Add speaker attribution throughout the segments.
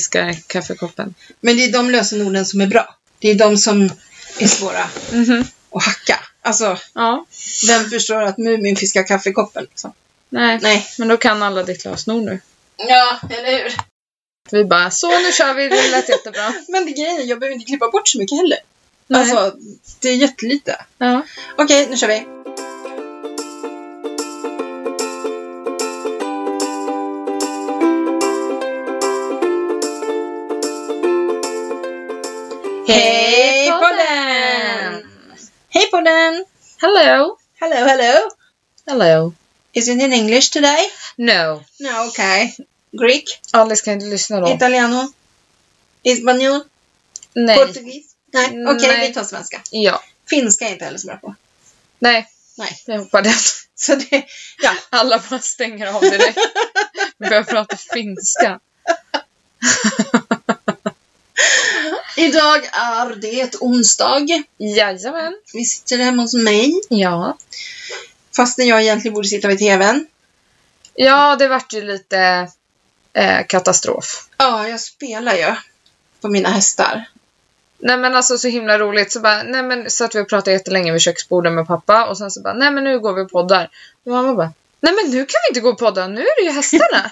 Speaker 1: Muminfiskar-kaffekoppen.
Speaker 2: Men det är de lösenorden som är bra. Det är de som är svåra
Speaker 1: Mhm.
Speaker 2: att hacka. Alltså,
Speaker 1: Ja,
Speaker 2: vem förstår att Muminfiska kaffekoppen? Liksom?
Speaker 1: nej.
Speaker 2: Nej.
Speaker 1: Men då kan alla ditt lösenord nu.
Speaker 2: Ja, eller hur?
Speaker 1: Vi bara, så nu kör vi, det lät jättebra.
Speaker 2: Men det grejen är, jag behöver inte klippa bort så mycket heller.
Speaker 1: Nej.
Speaker 2: Alltså, det är jättelite.
Speaker 1: Ja.
Speaker 2: Okej, nu kör vi. Hej podden! Hej podden!
Speaker 1: Hello!
Speaker 2: Hello, hello!
Speaker 1: Hello!
Speaker 2: Is it in English today?
Speaker 1: No!
Speaker 2: No, okay. Greek?
Speaker 1: Alice kan inte lyssna då.
Speaker 2: Italiano? Espanol?
Speaker 1: Nej.
Speaker 2: Portugis? Nej, okej,
Speaker 1: Nej.
Speaker 2: vi tar svenska.
Speaker 1: Ja.
Speaker 2: Finska är jag inte heller så bra på.
Speaker 1: Nej.
Speaker 2: Nej.
Speaker 1: Jag hoppade.
Speaker 2: Så det, ja.
Speaker 1: Alla bara stänger av direkt. Börjar prata finska.
Speaker 2: Idag är det onsdag.
Speaker 1: Jajamän.
Speaker 2: Vi sitter hemma hos mig.
Speaker 1: Ja.
Speaker 2: Fastän jag egentligen borde sitta vid TVn.
Speaker 1: Ja, det vart ju lite eh, katastrof.
Speaker 2: Ja, jag spelar ju. På mina hästar.
Speaker 1: Nej men alltså så himla roligt. Så bara, nej men satt vi och pratade jättelänge vid köksbordet med pappa och sen så bara, nej men nu går vi och poddar. Och mamma bara, nej men nu kan vi inte gå och podda, nu är det ju hästarna.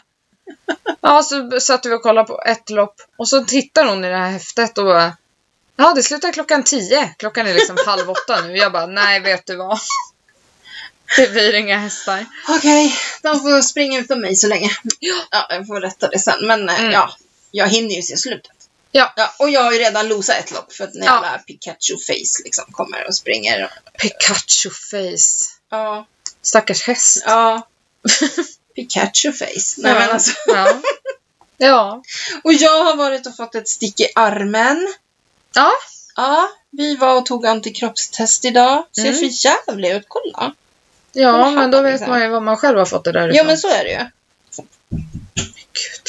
Speaker 1: ja, så satt vi och kollade på ett lopp och så tittar hon i det här häftet och bara, ja det slutar klockan tio. Klockan är liksom halv åtta nu. Jag bara, nej vet du vad. Det blir inga hästar.
Speaker 2: Okej, de får springa utan mig så länge. Ja, jag får rätta det sen. Men eh,
Speaker 1: Mm.
Speaker 2: ja, jag hinner ju se slutet.
Speaker 1: Ja.
Speaker 2: och jag har ju redan losat ett lopp för att när
Speaker 1: Ja.
Speaker 2: jävla Pikachu-face liksom kommer och springer. och-
Speaker 1: Pikachu-face.
Speaker 2: Ja,
Speaker 1: Stackars häst.
Speaker 2: ja. Pikachu-face. Nej, men alltså.
Speaker 1: Ja. ja.
Speaker 2: Och jag har varit och fått ett stick i armen.
Speaker 1: Ja.
Speaker 2: Ja, vi var och tog antikroppstest idag. Ser
Speaker 1: Mm.
Speaker 2: för jävligt ut, kolla.
Speaker 1: Ja,
Speaker 2: Eller
Speaker 1: men då
Speaker 2: handen,
Speaker 1: vet
Speaker 2: liksom.
Speaker 1: man ju vad man själv har fått det därifrån.
Speaker 2: Ja, men så är det ju.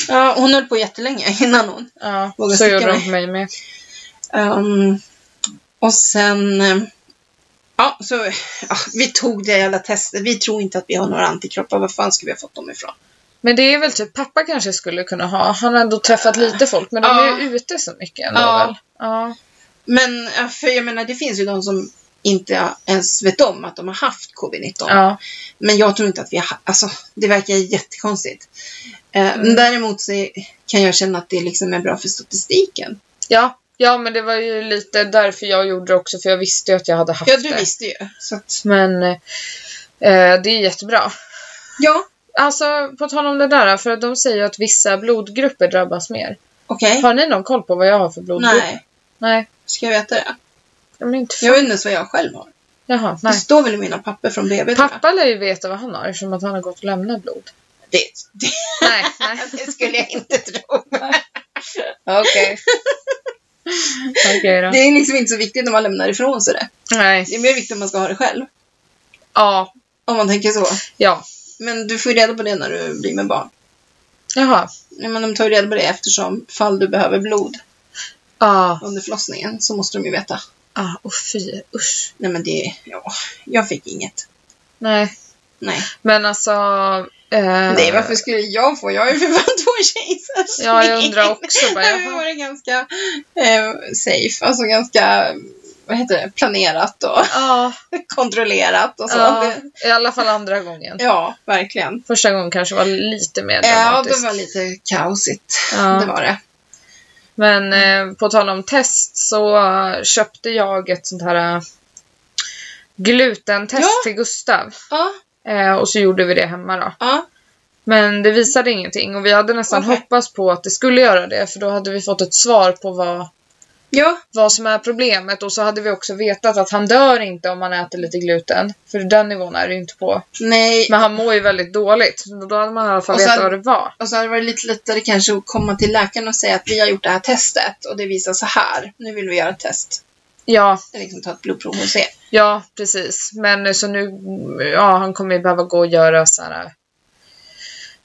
Speaker 2: Ja, hon höll på jättelänge innan hon.
Speaker 1: Ja,
Speaker 2: Våga
Speaker 1: så
Speaker 2: sticka
Speaker 1: gjorde de
Speaker 2: mig.
Speaker 1: på mig med.
Speaker 2: Ehm, och sen... eh, Ja, så ja, vi tog det jävla testet. Vi tror inte att vi har några antikroppar. Var fan ska vi ha fått dem ifrån?
Speaker 1: Men det är väl typ pappa kanske skulle kunna ha. Han har ändå träffat lite folk, men de
Speaker 2: Ja.
Speaker 1: är ju ute så mycket ändå
Speaker 2: Ja.
Speaker 1: väl? Ja.
Speaker 2: Men ja, för jag menar, det finns ju de som inte ens vet om att de har haft covid-19.
Speaker 1: ja.
Speaker 2: Men jag tror inte att vi har, alltså det verkar jättekonstigt. Eh, men
Speaker 1: Mm.
Speaker 2: Däremot så är- kan jag känna att det liksom är bra för statistiken.
Speaker 1: Ja. Ja, men det var ju lite därför jag gjorde det också, för jag visste ju att jag hade haft
Speaker 2: Ja, du
Speaker 1: det.
Speaker 2: visste ju. Så att,
Speaker 1: Men eh, det är jättebra.
Speaker 2: ja,
Speaker 1: Alltså, på tal om det där, för att de säger ju att vissa blodgrupper drabbas mer.
Speaker 2: okej.
Speaker 1: Har ni någon koll på vad jag har för blodgrupp?
Speaker 2: Nej,
Speaker 1: Nej.
Speaker 2: ska jag veta det?
Speaker 1: Ja, Men inte
Speaker 2: Jag vet inte ens vad jag själv har.
Speaker 1: Jaha,
Speaker 2: Det
Speaker 1: nej.
Speaker 2: står väl i mina papper från BB tror jag.
Speaker 1: Pappa lär ju veta vad han har eftersom att han har gått och lämnat blod.
Speaker 2: det, det,
Speaker 1: Nej, nej.
Speaker 2: det skulle jag inte tro.
Speaker 1: Okej. Okej då.
Speaker 2: Det är liksom inte så viktigt när man lämnar ifrån sig det.
Speaker 1: Nej.
Speaker 2: Det är mer viktigt om man ska ha det själv.
Speaker 1: Ja.
Speaker 2: Om man tänker så.
Speaker 1: Ja.
Speaker 2: Men du får ju reda på det när du blir med barn.
Speaker 1: Jaha.
Speaker 2: Nej, men de tar ju reda på det eftersom fall du behöver blod
Speaker 1: Ja.
Speaker 2: under förlossningen så måste de ju veta.
Speaker 1: Ja, och fy. Usch.
Speaker 2: Nej men det, ja, jag fick inget.
Speaker 1: Nej.
Speaker 2: Nej.
Speaker 1: Men alltså. Eh,
Speaker 2: Nej varför skulle jag få? Jag har ju för fan två kejsarsnitt.
Speaker 1: Ja, jag undrar också bara.
Speaker 2: Nej, men
Speaker 1: Jaha.
Speaker 2: var det ganska eh, safe, alltså ganska, vad heter det, planerat och
Speaker 1: Ja,
Speaker 2: kontrollerat och så.
Speaker 1: ja,
Speaker 2: Alltså, Det-
Speaker 1: i alla fall andra gången.
Speaker 2: ja verkligen.
Speaker 1: Första gången kanske var lite mer
Speaker 2: Ja, det
Speaker 1: dramatiskt.
Speaker 2: var lite kaosigt.
Speaker 1: Ja.
Speaker 2: Det var det.
Speaker 1: Men
Speaker 2: Mm.
Speaker 1: eh, på tal om test så eh, köpte jag ett sånt här eh, glutentest
Speaker 2: Ja.
Speaker 1: till Gustav.
Speaker 2: Ja,
Speaker 1: Eh, och så gjorde vi det hemma då.
Speaker 2: ja,
Speaker 1: Men det visade ingenting och vi hade nästan
Speaker 2: Okej.
Speaker 1: hoppats på att det skulle göra det för då hade vi fått ett svar på vad,
Speaker 2: ja,
Speaker 1: vad som är problemet och så hade vi också vetat att han dör inte om han äter lite gluten. För den nivån är det ju inte på.
Speaker 2: nej.
Speaker 1: Men han mår ju väldigt dåligt. Så Då hade man i alla fall
Speaker 2: Och så
Speaker 1: vetat
Speaker 2: hade-
Speaker 1: vad det var.
Speaker 2: Och så hade det varit lite lättare kanske att komma till läkaren och säga att vi har gjort det här testet och det visar så här. Nu vill vi göra ett test.
Speaker 1: Ja,
Speaker 2: Liksom ta ett blodprov och se.
Speaker 1: ja precis. Men eh, så nu, ja han kommer ju behöva gå och göra så här.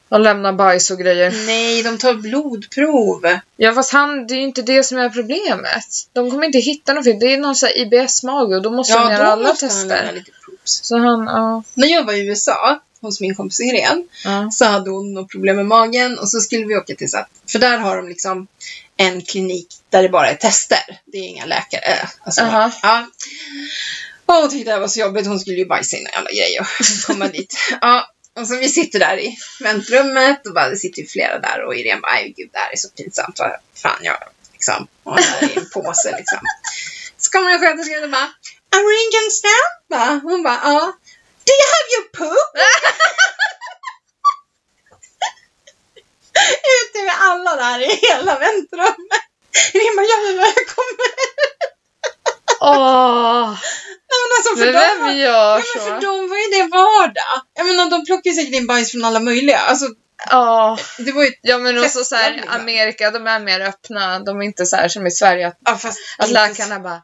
Speaker 1: Och lämna bajs och grejer.
Speaker 2: Nej, de tar blodprov.
Speaker 1: Ja fast han, det är ju inte det som är problemet. De kommer inte hitta något fel. Det är någon sån här IBS-mage och då måste de göra alla
Speaker 2: måste han
Speaker 1: tester.
Speaker 2: lämna lite proofs.
Speaker 1: Så han, ja.
Speaker 2: När jag var i USA hos min kompis Irene
Speaker 1: Ja.
Speaker 2: så hade hon något problem med magen och så skulle vi åka till så att, för där har de liksom en klinik där det bara är tester. Det är inga läkare. eh, Alltså,
Speaker 1: Aha.
Speaker 2: ja. Och hon tyckte det här var så jobbigt. Hon skulle ju bajsa in och alla grejer och komma dit. Ja. Och så Alltså, vi sitter där i väntrummet och bara, det sitter ju flera där och Irene bara, "Aj, gud det här är så pinsamt. Vad fan jag liksom. Och hon är i en påse liksom. Så kommer en sköterska och bara, Aringenstein? Bara, hon bara, ja. Do you have your poop? Ute med alla där i hela väntrummet. Rimma, jag vill jag kommer.
Speaker 1: Åh!
Speaker 2: Nej, men alltså, för
Speaker 1: Men
Speaker 2: dem
Speaker 1: vem
Speaker 2: var,
Speaker 1: gör
Speaker 2: ja, men för
Speaker 1: så?
Speaker 2: dem var ju det vardag. Jag menar, de plockar ju säkert in bajs från alla möjliga. Alltså,
Speaker 1: Ja.
Speaker 2: det var ju...
Speaker 1: Ja men också så här,
Speaker 2: Testlandning, va?
Speaker 1: Amerika, de är mer öppna. De är inte så här som i Sverige, att,
Speaker 2: Ja, fast
Speaker 1: att
Speaker 2: inte-
Speaker 1: läkarna bara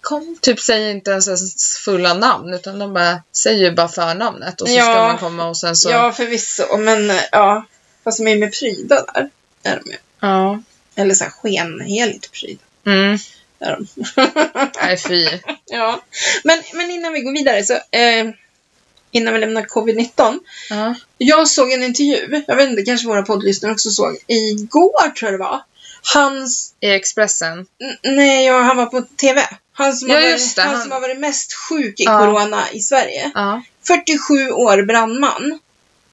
Speaker 1: Kom. Typ säger inte ens ens fulla namn utan de bara säger bara förnamnet och så ska
Speaker 2: Ja.
Speaker 1: man komma och sen så...
Speaker 2: Ja, förvisso. Men eh, ja, fast de är ju med pryda där. Är de ju.
Speaker 1: ja.
Speaker 2: Eller så här skenheligt pryda.
Speaker 1: Mm.
Speaker 2: Är de.
Speaker 1: Nej fy.
Speaker 2: ja. men, men innan vi går vidare så... Eh, innan vi lämnar covid-19.
Speaker 1: Ja.
Speaker 2: Jag såg en intervju, jag vet inte, kanske våra poddlyssnare också såg, igår tror jag det var. Hans,
Speaker 1: I Expressen.
Speaker 2: n- nej, ja, han var på TV. Han som,
Speaker 1: Ja,
Speaker 2: har varit,
Speaker 1: just det,
Speaker 2: han...
Speaker 1: han-
Speaker 2: som har varit mest sjuk i
Speaker 1: Ja.
Speaker 2: corona i Sverige.
Speaker 1: Ja.
Speaker 2: 47 år, brandman.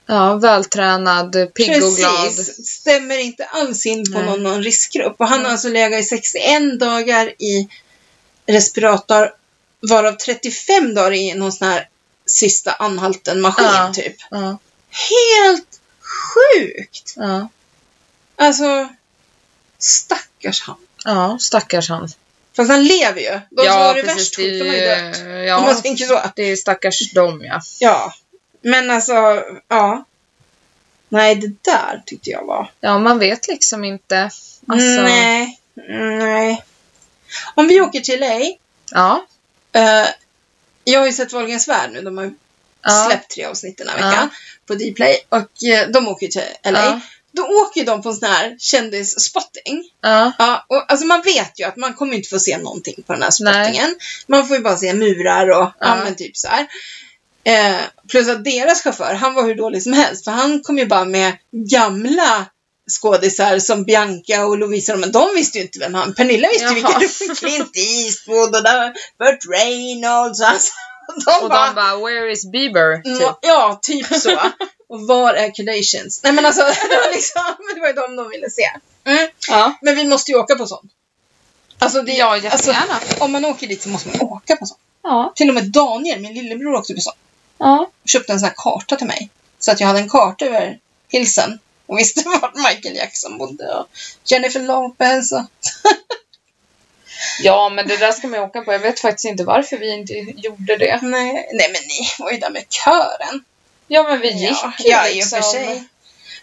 Speaker 1: Ja, vältränad, pigg och glad.
Speaker 2: Precis, stämmer inte alls in på
Speaker 1: Nej.
Speaker 2: någon, någon riskgrupp. Och han
Speaker 1: Mm.
Speaker 2: har alltså legat i 61 dagar i respirator, varav 35 dagar i någon sån här sista anhalten-maskin
Speaker 1: Ja.
Speaker 2: typ.
Speaker 1: Ja,
Speaker 2: Helt sjukt!
Speaker 1: ja,
Speaker 2: Alltså, stackars han.
Speaker 1: ja, stackars han.
Speaker 2: Fast han lever ju. De som
Speaker 1: ja,
Speaker 2: har det värst
Speaker 1: det
Speaker 2: sjukt, de har ju
Speaker 1: är-
Speaker 2: dött. Om
Speaker 1: ja,
Speaker 2: man tänker så.
Speaker 1: det är stackars dem ja.
Speaker 2: Ja. Men alltså, ja. Nej, det där tyckte jag var...
Speaker 1: Ja, man vet liksom inte. Alltså,
Speaker 2: Nej. Nej. Om vi åker till LA.
Speaker 1: Ja,
Speaker 2: eh, jag har ju sett Wahlgrens värld nu. De har ju
Speaker 1: ja,
Speaker 2: släppt tre avsnitt den här
Speaker 1: Ja.
Speaker 2: veckan på Dplay. Och eh, de åker ju till LA.
Speaker 1: Ja.
Speaker 2: Då åker ju de på en sån här kändisspotting.
Speaker 1: ja,
Speaker 2: Ja, och alltså man vet ju att man kommer inte få se någonting på den här
Speaker 1: Nej.
Speaker 2: spottingen. Man får ju bara se murar och ja.
Speaker 1: Ja.
Speaker 2: men typ så här. Eh, plus att deras chaufför, han var hur dålig som helst. För han kom ju bara med gamla skådisar som Bianca och Lovisa. Men de visste ju inte vem han... Pernilla visste ju vilka
Speaker 1: Jaha.
Speaker 2: det var. Clint Eastwood och där, Burt Reynolds. Alltså, de
Speaker 1: och
Speaker 2: bara,
Speaker 1: de bara “Where is Bieber?” typ.
Speaker 2: Ja, typ så. och var är Kardashians? Nej men alltså, det var, liksom, det var ju de de ville se. Mm.
Speaker 1: Ja.
Speaker 2: Men vi måste ju åka på sånt. Alltså, det,
Speaker 1: Ja,
Speaker 2: alltså
Speaker 1: jättegärna.
Speaker 2: om man åker dit så måste man åka på sånt.
Speaker 1: Ja,
Speaker 2: Till och med Daniel, min lillebror, åkte på sånt.
Speaker 1: ja.
Speaker 2: Köpte en sån här karta till mig. Så att jag hade en karta över hilsen. Och visste vart Michael Jackson bodde och Jennifer Lopez och...
Speaker 1: Ja, men det där ska man ju åka på. Jag vet faktiskt inte varför vi inte gjorde det.
Speaker 2: Nej, nej men ni var ju där med kören.
Speaker 1: Ja, men vi gick
Speaker 2: ja,
Speaker 1: ju
Speaker 2: ja, i och
Speaker 1: liksom.
Speaker 2: för sig.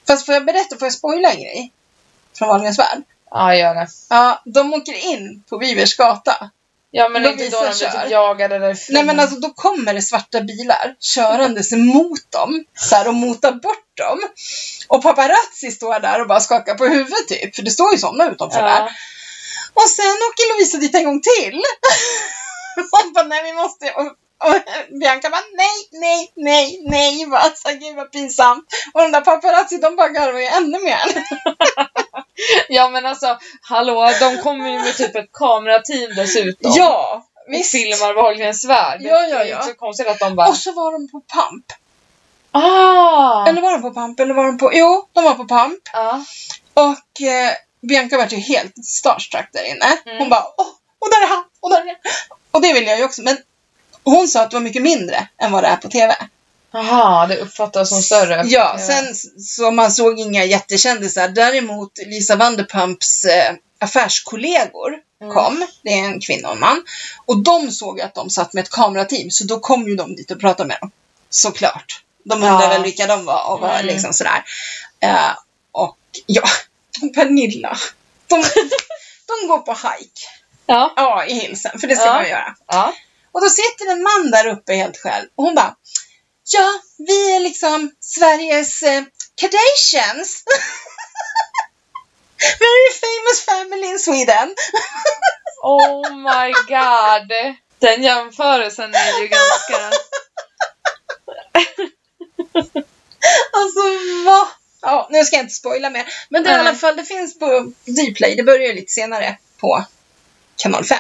Speaker 2: Fast får jag berätta, får jag spoila en grej? Från Wahlgrens värld?
Speaker 1: Ja, gör det.
Speaker 2: Ja, de åker in på Bibers gata.
Speaker 1: Ja, men
Speaker 2: Lovisa
Speaker 1: inte då de
Speaker 2: kör.
Speaker 1: typ jagade därifrån.
Speaker 2: Nej men alltså då kommer det svarta bilar körandes mot dem så här, och motar bort dem. Och paparazzi står där och bara skakar på huvudet typ, för det står ju sådana utanför där.
Speaker 1: ja.
Speaker 2: Och sen åker Lovisa dit en gång till. Hon bara, nej vi måste... Och, och Bianca bara, nej, nej, nej, nej. Bara, Alltså gud vad pinsamt. Och de där paparazzi de bara garvar ju ännu mer.
Speaker 1: ja, men alltså, hallå, de kommer ju med typ ett kamerateam dessutom.
Speaker 2: Ja,
Speaker 1: och
Speaker 2: visst.
Speaker 1: filmar Wahlgrens värld.
Speaker 2: Ja, ja,
Speaker 1: Det är ju
Speaker 2: ja.
Speaker 1: inte så konstigt att de bara...
Speaker 2: Och så var de på Pamp.
Speaker 1: Ah!
Speaker 2: Eller var de på Pamp? Eller var de på... Jo, de var på Pamp.
Speaker 1: Ja.
Speaker 2: Och eh, Bianca vart ju helt starstruck där inne. Hon
Speaker 1: Mm.
Speaker 2: bara åh, och där är han, och där är han. Och det vill jag ju också, men hon sa att det var mycket mindre än vad det är på TV.
Speaker 1: Aha, det uppfattas som större.
Speaker 2: Ja, sen s- så man såg inga jättekändisar. Däremot Lisa Vanderpumps eh, affärskollegor
Speaker 1: Mm.
Speaker 2: kom. Det är en kvinna och en man. Och de såg ju att de satt med ett kamerateam, så då kom ju de dit och pratade med dem. Såklart. De undrade
Speaker 1: Ja.
Speaker 2: väl vilka de var och var
Speaker 1: Mm.
Speaker 2: liksom sådär. Eh, och ja, Pernilla. De, de går på hike.
Speaker 1: Ja.
Speaker 2: Ja, i Hilsen, för det ska
Speaker 1: Ja.
Speaker 2: man göra.
Speaker 1: ja.
Speaker 2: Och då sitter en man där uppe helt själv och hon bara Ja, vi är liksom Sveriges eh, Kardashians. Very famous family in Sweden.
Speaker 1: Oh my god. Den jämförelsen är ju ganska... va?
Speaker 2: Alltså, Ja, nu ska jag inte spoila mer. Men det, är i
Speaker 1: Nej.
Speaker 2: alla fall, det finns på Dplay. Det börjar ju lite senare på kanal 5.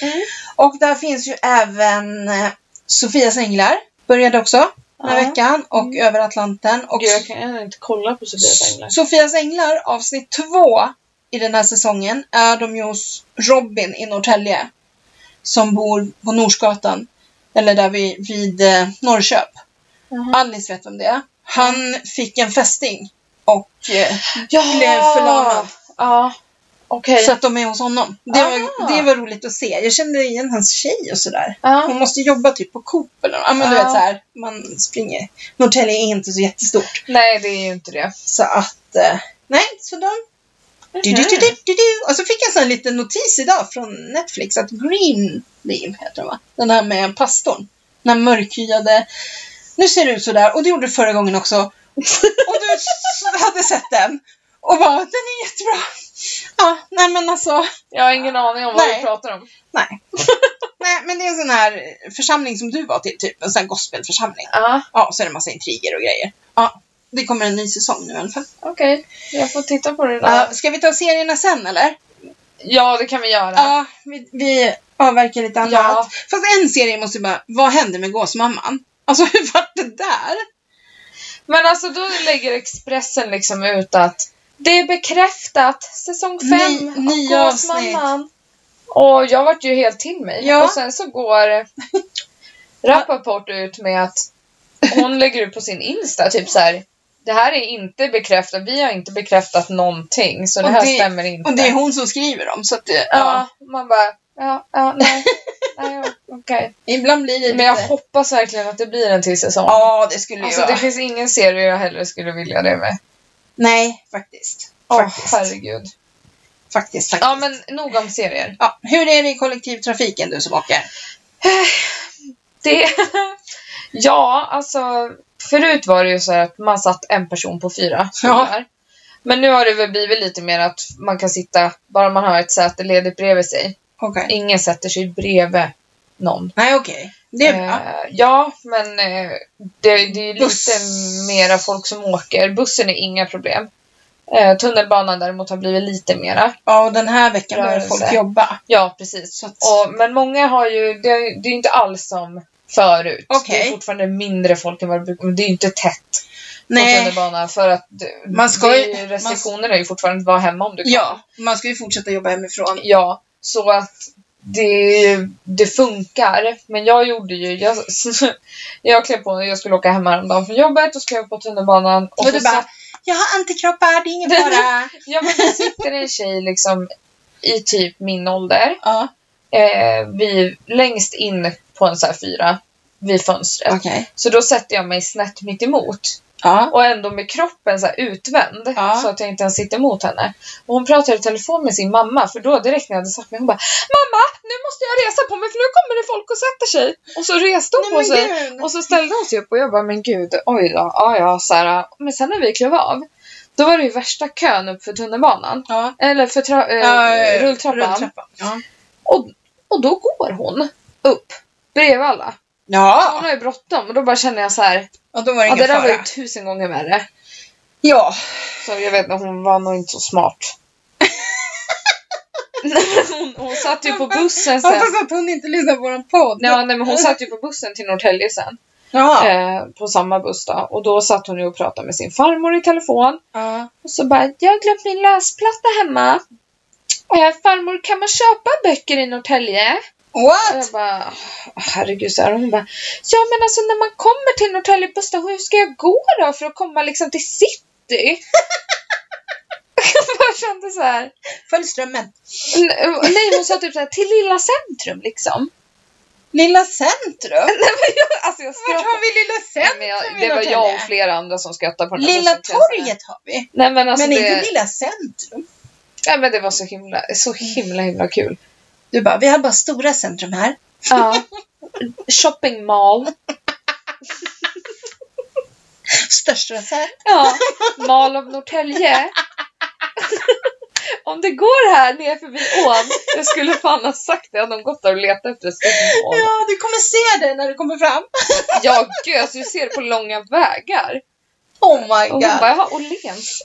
Speaker 1: Mm.
Speaker 2: Och där finns ju även eh, Sofias änglar. Började också den här
Speaker 1: Ja. Mm.
Speaker 2: veckan. Och Över Atlanten. Och
Speaker 1: Gud, jag kan ännu inte kolla på Sofias änglar.
Speaker 2: Sofias änglar, avsnitt två i den här säsongen, är de ju hos Robin i Norrtälje. Som bor på Norsgatan. Eller där vid, vid eh, Norrköp.
Speaker 1: Mhm.
Speaker 2: Alice vet om det är. Han fick en fästing. Och eh,
Speaker 1: Jag
Speaker 2: blev förlamad.
Speaker 1: Ja. Okej.
Speaker 2: så att de är hos honom. Det
Speaker 1: Ah.
Speaker 2: var, det var roligt att se. Jag kände igen hans tjej och sådär.
Speaker 1: Ja.
Speaker 2: Hon måste jobba typ på Coop eller nåt. Ja men du
Speaker 1: Ja.
Speaker 2: vet såhär, man springer. Norrtälje är inte så jättestort.
Speaker 1: Nej, det är ju inte det.
Speaker 2: Så att, eh, nej, så de Du, du, du, du, du, du. Och så fick jag en sån här liten notis idag från Netflix att Greenleaf heter den va? Den här med pastorn. Den här mörkhyade. Nu ser det ut sådär och det gjorde det förra gången också. Och du s- hade sett den. Och bara, den är jättebra. Ja, nej men alltså.
Speaker 1: Jag har ingen aning om vad
Speaker 2: Nej.
Speaker 1: du pratar om.
Speaker 2: Nej. Nej, men det är en sån här församling som du var till, typ. En sån här gospelförsamling.
Speaker 1: Ja,
Speaker 2: Ja, så är det massa intriger och grejer. Ja, det kommer en ny säsong nu i alla fall.
Speaker 1: okej. Jag får titta på det där.
Speaker 2: Ja, ska vi ta serierna sen eller?
Speaker 1: Ja, det kan vi göra.
Speaker 2: Ja, vi, vi avverkar lite annat.
Speaker 1: Ja.
Speaker 2: Fast en serie måste ju bara, vad hände med gåsmamman? Alltså hur vart det där?
Speaker 1: Men alltså, då lägger Expressen liksom ut att det är bekräftat. Säsong
Speaker 2: Ny-
Speaker 1: 5 av
Speaker 2: nya
Speaker 1: Gåsmamman. Och jag vart ju helt till mig.
Speaker 2: Ja.
Speaker 1: Och sen så går Rappaport ut med att hon lägger ut på sin Insta typ så här. Det här är inte bekräftat. Vi har inte bekräftat någonting. Så det
Speaker 2: Och
Speaker 1: här
Speaker 2: det-
Speaker 1: stämmer inte.
Speaker 2: Och det är hon som skriver dem så att det, ja.
Speaker 1: Ja, man bara, ja, ja, nej. nej ja, okej.
Speaker 2: Ibland blir det lite...
Speaker 1: Men jag hoppas verkligen att det blir en till säsong.
Speaker 2: Ja, det skulle ju
Speaker 1: alltså,
Speaker 2: vara.
Speaker 1: det finns ingen serie jag hellre skulle vilja det med.
Speaker 2: Nej, faktiskt.
Speaker 1: Åh,
Speaker 2: faktiskt.
Speaker 1: herregud.
Speaker 2: faktiskt, faktiskt.
Speaker 1: Ja, men nog om serier.
Speaker 2: Ja, hur är det i kollektivtrafiken du som åker?
Speaker 1: Det... ja, alltså. Förut var det ju så här att man satt en person på fyra stolar. Men nu har det väl blivit lite mer att man kan sitta, bara man har ett säte ledigt bredvid sig.
Speaker 2: Okej.
Speaker 1: Ingen sätter sig bredvid någon.
Speaker 2: Nej, okej. Det är bra.
Speaker 1: Eh, ja, men eh, det, det är lite
Speaker 2: Buss.
Speaker 1: mera folk som åker. Bussen är inga problem. Eh, tunnelbanan däremot har blivit lite mera.
Speaker 2: Ja, och den här veckan börjar
Speaker 1: rörelse.
Speaker 2: folk jobba.
Speaker 1: Ja, precis.
Speaker 2: Så att,
Speaker 1: Och, men många har ju, det, det är ju inte alls som förut. Det
Speaker 2: Okej.
Speaker 1: är fortfarande mindre folk än vad det brukar men det är ju inte tätt på
Speaker 2: nej,
Speaker 1: tunnelbanan för att det-
Speaker 2: Man ska
Speaker 1: det är
Speaker 2: ju-
Speaker 1: ju,
Speaker 2: man-
Speaker 1: restriktionerna är ju fortfarande att vara hemma om du kan.
Speaker 2: ja, man ska ju fortsätta jobba hemifrån.
Speaker 1: Ja, så att det, det funkar. Men jag gjorde ju, jag, jag klev på, jag skulle åka hem häromdagen från jobbet och skrev på tunnelbanan. Och
Speaker 2: Och
Speaker 1: så
Speaker 2: du bara,
Speaker 1: satt-
Speaker 2: jag har antikroppar, det är ingen fara.
Speaker 1: ja men det sitter en tjej liksom i typ min ålder.
Speaker 2: ja,
Speaker 1: Eh, vi, längst in på en så här fyra vid fönstret.
Speaker 2: okej.
Speaker 1: Så då sätter jag mig snett mitt emot
Speaker 2: Ja.
Speaker 1: och ändå med kroppen så här utvänd
Speaker 2: Ja.
Speaker 1: så att jag inte ens sitter emot henne. Och hon pratade i telefon med sin mamma för då direkt när jag hade satt mig hon bara Mamma! Nu måste jag resa på mig för nu kommer det folk och sätter sig. Och så reste hon på
Speaker 2: Nej,
Speaker 1: sig.
Speaker 2: men gud.
Speaker 1: Och så ställde hon sig upp och jag bara men gud oj då. Ja ja så här, Men sen när vi klev av då var det ju värsta kön upp för tunnelbanan.
Speaker 2: Ja.
Speaker 1: Eller för tra- eh,
Speaker 2: Eh,
Speaker 1: rulltrappan.
Speaker 2: Ja.
Speaker 1: Och då går hon upp bredvid alla. Hon
Speaker 2: ja,
Speaker 1: har ju bråttom och då bara känner jag så här.
Speaker 2: och då var
Speaker 1: Ja,
Speaker 2: det ingen
Speaker 1: det där
Speaker 2: fara.
Speaker 1: var ju tusen gånger värre.
Speaker 2: Ja,
Speaker 1: Så jag vet att hon var nog inte så smart. hon, hon satt ju på bussen sen.
Speaker 2: hoppas att hon inte lyssnar på vår podd.
Speaker 1: Ja, nej, men hon satt ju på bussen till Norrtälje sen.
Speaker 2: ja.
Speaker 1: Eh, på samma buss då. Och då satt hon ju och pratade med sin farmor i telefon.
Speaker 2: ja.
Speaker 1: Och så bara, jag har glömt min läsplatta hemma. Eh, farmor, kan man köpa böcker i Norrtälje? Och jag
Speaker 2: What?
Speaker 1: bara, "Åh, herregud, så här. Och hon bara, ja men alltså när man kommer till Norrtälje busstation, hur ska jag gå då för att komma liksom till city? jag kände så här.
Speaker 2: Följ strömmen.
Speaker 1: N- Nej, hon sa typ såhär, till lilla centrum liksom.
Speaker 2: Lilla centrum?
Speaker 1: Alltså jag
Speaker 2: Vart
Speaker 1: skrattade.
Speaker 2: har vi Lilla
Speaker 1: Nej, Men
Speaker 2: centrum
Speaker 1: jag,
Speaker 2: i
Speaker 1: det var
Speaker 2: Norrtälje?
Speaker 1: jag och flera andra som skrattade på den här
Speaker 2: Lilla
Speaker 1: bussen, kan jag säga.
Speaker 2: torget har vi.
Speaker 1: Nej men alltså
Speaker 2: men inte
Speaker 1: det,
Speaker 2: Lilla centrum.
Speaker 1: nej, men det var så himla, så himla himla kul.
Speaker 2: Du bara, vi har bara stora centrum här.
Speaker 1: Ja. Shopping mall.
Speaker 2: Största centrum.
Speaker 1: Ja. Mall av Norrtälje. Om det går här ner förbi ån. Jag skulle fan ha sagt det. Hade de gått där och letat efter ett stort mål.
Speaker 2: Ja, du kommer se det när du kommer fram.
Speaker 1: Ja gud, alltså, du ser det på långa vägar.
Speaker 2: Oh my
Speaker 1: Och hon
Speaker 2: god.
Speaker 1: bara, jaha, Åhléns.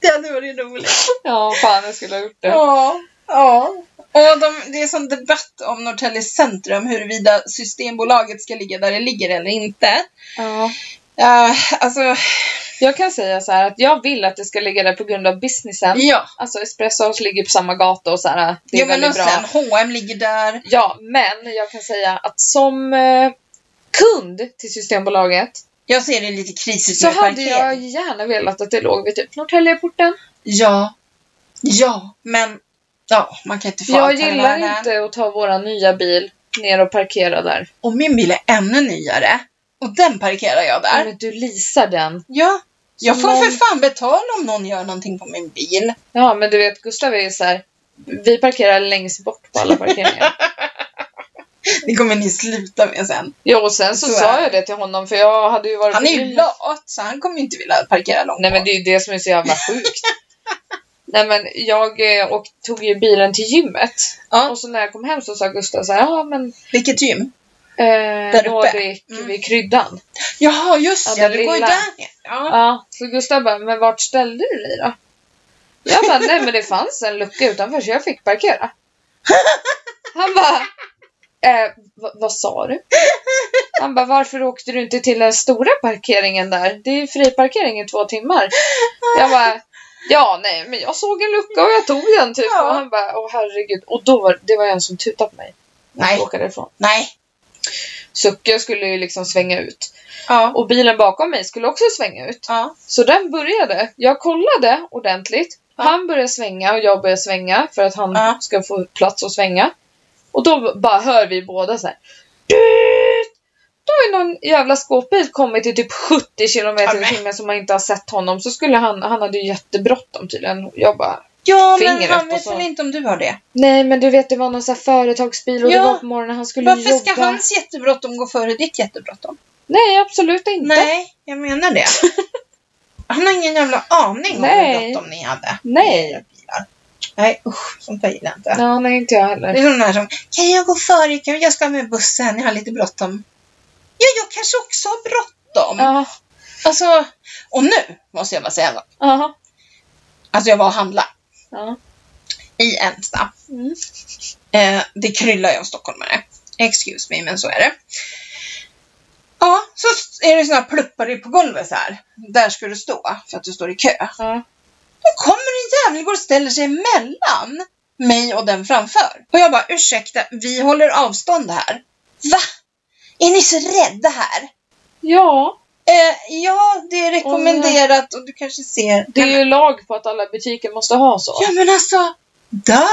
Speaker 2: Det hade varit roligt.
Speaker 1: Ja, fan jag skulle ha gjort det.
Speaker 2: Ja. ja. Och de, det är sån debatt om Norrtälje centrum huruvida Systembolaget ska ligga där det ligger eller inte.
Speaker 1: Ja.
Speaker 2: Eh, alltså,
Speaker 1: Jag kan säga så här att jag vill att det ska ligga där på grund av businessen.
Speaker 2: ja.
Speaker 1: Alltså Espresso House ligger på samma gata och så här, det är
Speaker 2: Jo men
Speaker 1: väldigt
Speaker 2: och
Speaker 1: bra.
Speaker 2: sen H&M ligger där.
Speaker 1: Ja, men jag kan säga att som eh, kund till Systembolaget
Speaker 2: Jag ser det lite krisigt
Speaker 1: så
Speaker 2: med
Speaker 1: hade
Speaker 2: parkering.
Speaker 1: jag gärna velat att det låg vid typ Norrtäljeporten.
Speaker 2: Ja. Ja, men ja, man kan inte få
Speaker 1: Jag
Speaker 2: allt här i
Speaker 1: gillar
Speaker 2: världen.
Speaker 1: inte att ta våran nya bil ner och parkera där.
Speaker 2: Och min bil är ännu nyare. Och den parkerar jag där.
Speaker 1: Men du leasar den.
Speaker 2: Ja. Jag får
Speaker 1: Någon-
Speaker 2: för fan betala om någon gör någonting på min bil.
Speaker 1: Ja, men du vet Gustav är ju så här. Vi parkerar längst bort på alla parkeringar.
Speaker 2: Det kommer ni sluta med sen.
Speaker 1: jo, och sen så,
Speaker 2: Så är
Speaker 1: sa
Speaker 2: det.
Speaker 1: jag det till honom för jag hade ju varit
Speaker 2: Han är
Speaker 1: på
Speaker 2: ju
Speaker 1: gym.
Speaker 2: lat, så han kommer ju inte vilja parkera långt
Speaker 1: Nej, men
Speaker 2: bak.
Speaker 1: det är ju det som är så jävla sjukt. Nej men jag eh, och tog ju bilen till gymmet.
Speaker 2: Ja.
Speaker 1: Och så när jag kom hem så sa Gustav så här, ja men
Speaker 2: Vilket gym?
Speaker 1: Eh,
Speaker 2: Där uppe.
Speaker 1: Nordic
Speaker 2: Mm.
Speaker 1: vid kryddan.
Speaker 2: Jaha, just
Speaker 1: Ja,
Speaker 2: ja,
Speaker 1: den
Speaker 2: det går ju
Speaker 1: lilla.
Speaker 2: där ner. ja.
Speaker 1: Ja, så Gustav bara, men vart ställde du dig då? Jag bara, nej men det fanns en lucka utanför så jag fick parkera. Han bara, eh, va- vad sa du? Han bara, varför åkte du inte till den stora parkeringen där? Det är ju friparkering i två timmar. Jag bara, ja nej men jag såg en lucka och jag tog den typ.
Speaker 2: Ja.
Speaker 1: Och han bara, åh herregud. Och då var det var en som tutade på mig. när jag
Speaker 2: Nej.
Speaker 1: skulle åka därifrån.
Speaker 2: Nej.
Speaker 1: Sucke skulle ju liksom svänga ut.
Speaker 2: Ja.
Speaker 1: Och bilen bakom mig skulle också svänga ut.
Speaker 2: Ja.
Speaker 1: Så den började. Jag kollade ordentligt.
Speaker 2: Ja.
Speaker 1: Han började svänga och jag började svänga för att han
Speaker 2: Ja.
Speaker 1: ska få plats att svänga. Och då b- bara hör vi båda så här. Då har ju någon jävla skåpbil kommit i typ 70 km
Speaker 2: Ja,
Speaker 1: i
Speaker 2: men.
Speaker 1: timmen som man inte har sett honom. Så skulle han, han hade ju jättebråttom tydligen. Jag bara,
Speaker 2: Ja,
Speaker 1: Fingret
Speaker 2: men han
Speaker 1: och
Speaker 2: vet
Speaker 1: så.
Speaker 2: väl inte om du har det?
Speaker 1: nej men du vet det var någon så här företagsbil och
Speaker 2: Ja.
Speaker 1: det var på morgonen han skulle
Speaker 2: Varför
Speaker 1: jobba.
Speaker 2: ska hans jättebråttom gå före ditt jättebråttom?
Speaker 1: Nej absolut inte.
Speaker 2: Nej, jag menar det. Han har ingen jävla aning om hur
Speaker 1: Nej.
Speaker 2: bråttom ni hade.
Speaker 1: Nej.
Speaker 2: Bilar. Nej, usch, sånt där gillar jag inte.
Speaker 1: Ja, nej inte jag heller.
Speaker 2: Det är sån här som, kan jag gå före? Kan jag- Jag ska med bussen, jag har lite bråttom. Ja, jag kanske också har bråttom.
Speaker 1: Ja.
Speaker 2: Alltså, och nu måste jag bara säga en sak.
Speaker 1: Ja.
Speaker 2: Alltså jag var och handlade
Speaker 1: Ja.
Speaker 2: i Ensta.
Speaker 1: Mm.
Speaker 2: Eh, det kryllar ju av stockholmare. Excuse me, men så är det. Ja, så är det såna här pluppar på golvet så här. Där ska du stå för att du står i kö.
Speaker 1: Ja.
Speaker 2: Då kommer en jävel går och ställer sig mellan mig och den framför. Och jag bara, ursäkta, vi håller avstånd här. Va? Är ni så rädda här?
Speaker 1: Ja,
Speaker 2: Eh, ja, det är rekommenderat och du kanske ser.
Speaker 1: det är ju lag på att alla butiker måste ha så.
Speaker 2: Ja, men alltså. Dö!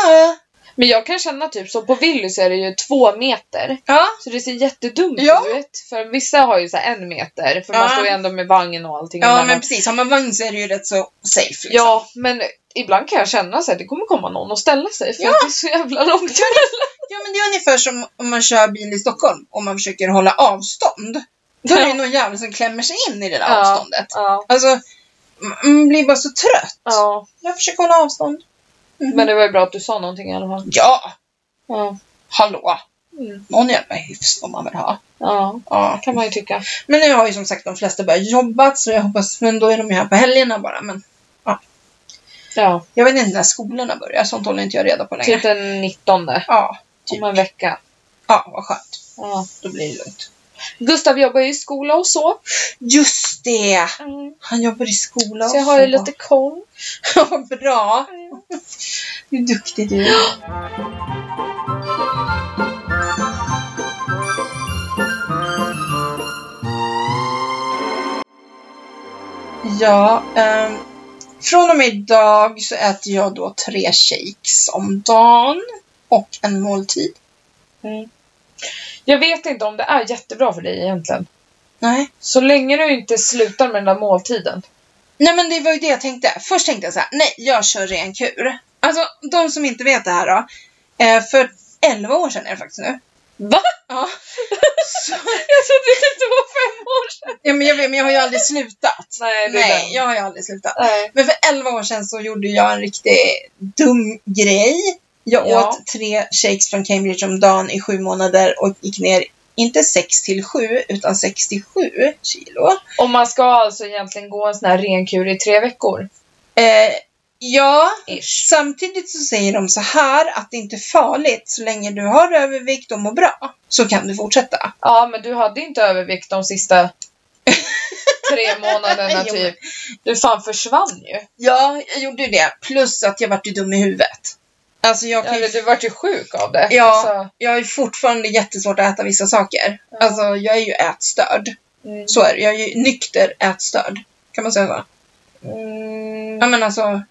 Speaker 1: Men jag kan känna typ så, på Willys är det ju två meter.
Speaker 2: Ja,
Speaker 1: Så det ser jättedumt
Speaker 2: Ja.
Speaker 1: ut. För vissa har ju så här en meter, för man
Speaker 2: Ja.
Speaker 1: står ju ändå med vagn och allting
Speaker 2: ja
Speaker 1: emellan.
Speaker 2: men precis. Har man vagn så är det ju rätt så safe. Liksom.
Speaker 1: ja, men ibland kan jag känna så här, det kommer komma någon och ställa sig för
Speaker 2: Ja.
Speaker 1: att det är så jävla långt
Speaker 2: ja, men det är ungefär som om man kör bil i Stockholm och man försöker hålla avstånd. Då är det
Speaker 1: Ja.
Speaker 2: någon jävel som klämmer sig in i det där
Speaker 1: Ja.
Speaker 2: avståndet.
Speaker 1: Ja,
Speaker 2: Alltså, man blir bara så trött.
Speaker 1: ja.
Speaker 2: Jag försöker hålla avstånd.
Speaker 1: Men det var ju bra att du sa någonting i alla fall.
Speaker 2: Ja,
Speaker 1: Ja,
Speaker 2: hallå.
Speaker 1: Mm.
Speaker 2: Någon jävla hyfs får man väl ha.
Speaker 1: ja
Speaker 2: Ja.
Speaker 1: kan man ju tycka.
Speaker 2: Men nu har ju som sagt de flesta börjat jobba så jag hoppas, men då är de ju här på helgerna bara. Men
Speaker 1: Ja,
Speaker 2: Jag vet inte när skolorna börjar, sånt håller inte jag reda på längre.
Speaker 1: typ den 19
Speaker 2: Ja,
Speaker 1: om en vecka.
Speaker 2: ja, vad skönt.
Speaker 1: Ja.
Speaker 2: Då blir det lugnt.
Speaker 1: Gustav jobbar ju i skola och så.
Speaker 2: Just det! Han jobbar i skola
Speaker 1: Så jag har ju lite koll.
Speaker 2: Ja, bra! Hur duktig du är. Ja, ehm, från och med idag så äter jag då tre shakes om dagen och en måltid.
Speaker 1: Jag vet inte om det är jättebra för dig egentligen.
Speaker 2: Nej.
Speaker 1: Så länge du inte slutar med den där måltiden.
Speaker 2: Nej men det var ju det jag tänkte. Först tänkte jag så här, nej jag kör ren kur. Alltså de som inte vet det här då. eh, För 11 år sedan är det faktiskt nu.
Speaker 1: Va?
Speaker 2: Ja. Så,
Speaker 1: Jag trodde inte det var fem år sedan.
Speaker 2: ja men jag vet, men jag har ju aldrig slutat.
Speaker 1: Nej, det är
Speaker 2: Nej,
Speaker 1: den.
Speaker 2: jag har ju aldrig slutat.
Speaker 1: Nej.
Speaker 2: Men för 11 år sedan så gjorde jag en riktigt dum grej. Jag
Speaker 1: Ja.
Speaker 2: åt tre shakes från Cambridge om dagen i sju månader och gick ner inte 6 till 7 utan 67 kilo.
Speaker 1: Och man ska alltså egentligen gå en sån här renkur i tre veckor?
Speaker 2: Eh, ja,
Speaker 1: Ish.
Speaker 2: samtidigt så säger de så här att det inte är farligt. Så länge du har övervikt och mår bra så kan du fortsätta.
Speaker 1: Ja, men du hade inte övervikt de sista tre månaderna
Speaker 2: Jo, men-
Speaker 1: typ. Du fan försvann ju.
Speaker 2: Ja, jag gjorde ju det. Plus att jag vart ju dum i huvudet. Alltså jag kan ju
Speaker 1: Eller du vart ju sjuk av det.
Speaker 2: Ja.
Speaker 1: Alltså,
Speaker 2: jag är fortfarande jättesvårt att äta vissa saker. Alltså jag är ju ätstörd.
Speaker 1: mm,
Speaker 2: Så är det. Jag är ju nykter ätstörd. Kan man säga så? Ja
Speaker 1: mm,
Speaker 2: men alltså,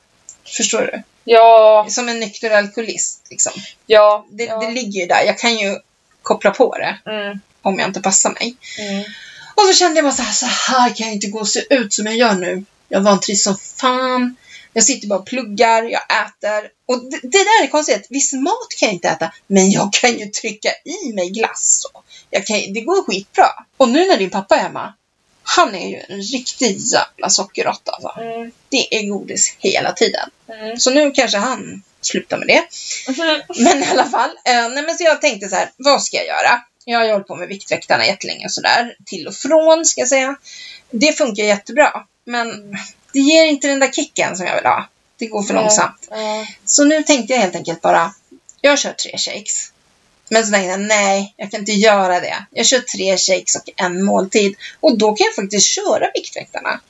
Speaker 2: förstår du?
Speaker 1: ja,
Speaker 2: Som en nykter alkoholist liksom.
Speaker 1: ja.
Speaker 2: Det,
Speaker 1: ja.
Speaker 2: det ligger ju där. Jag kan ju koppla på det
Speaker 1: Mm,
Speaker 2: om jag inte passar mig.
Speaker 1: mm.
Speaker 2: Och så kände jag bara så här, så här kan jag inte gå och se ut som jag gör nu. Jag vantrivs som fan. Jag sitter bara och pluggar, jag äter. Och det, det där är konstigt. Viss mat kan jag inte äta, men jag kan ju trycka i mig glass. Och jag kan, det går skitbra. Och nu när din pappa är hemma, han är ju en riktig jävla sockerrotta. Alltså.
Speaker 1: Mm,
Speaker 2: Det är godis hela tiden.
Speaker 1: mm.
Speaker 2: Så nu kanske han slutar med det. Men i alla fall, eh, nej men så jag tänkte så här, vad ska jag göra? Jag har ju hållit på med Viktväktarna jättelänge och sådär, till och från ska jag säga. Det funkar jättebra, men det ger inte den där kicken som jag vill ha. Det går för
Speaker 1: Nej.
Speaker 2: långsamt.
Speaker 1: Ja.
Speaker 2: Så nu tänkte jag helt enkelt bara, jag kör tre shakes. Men så tänkte jag, nej, jag kan inte göra det. Jag kör tre shakes och en måltid. Och då kan jag faktiskt köra Viktväktarna.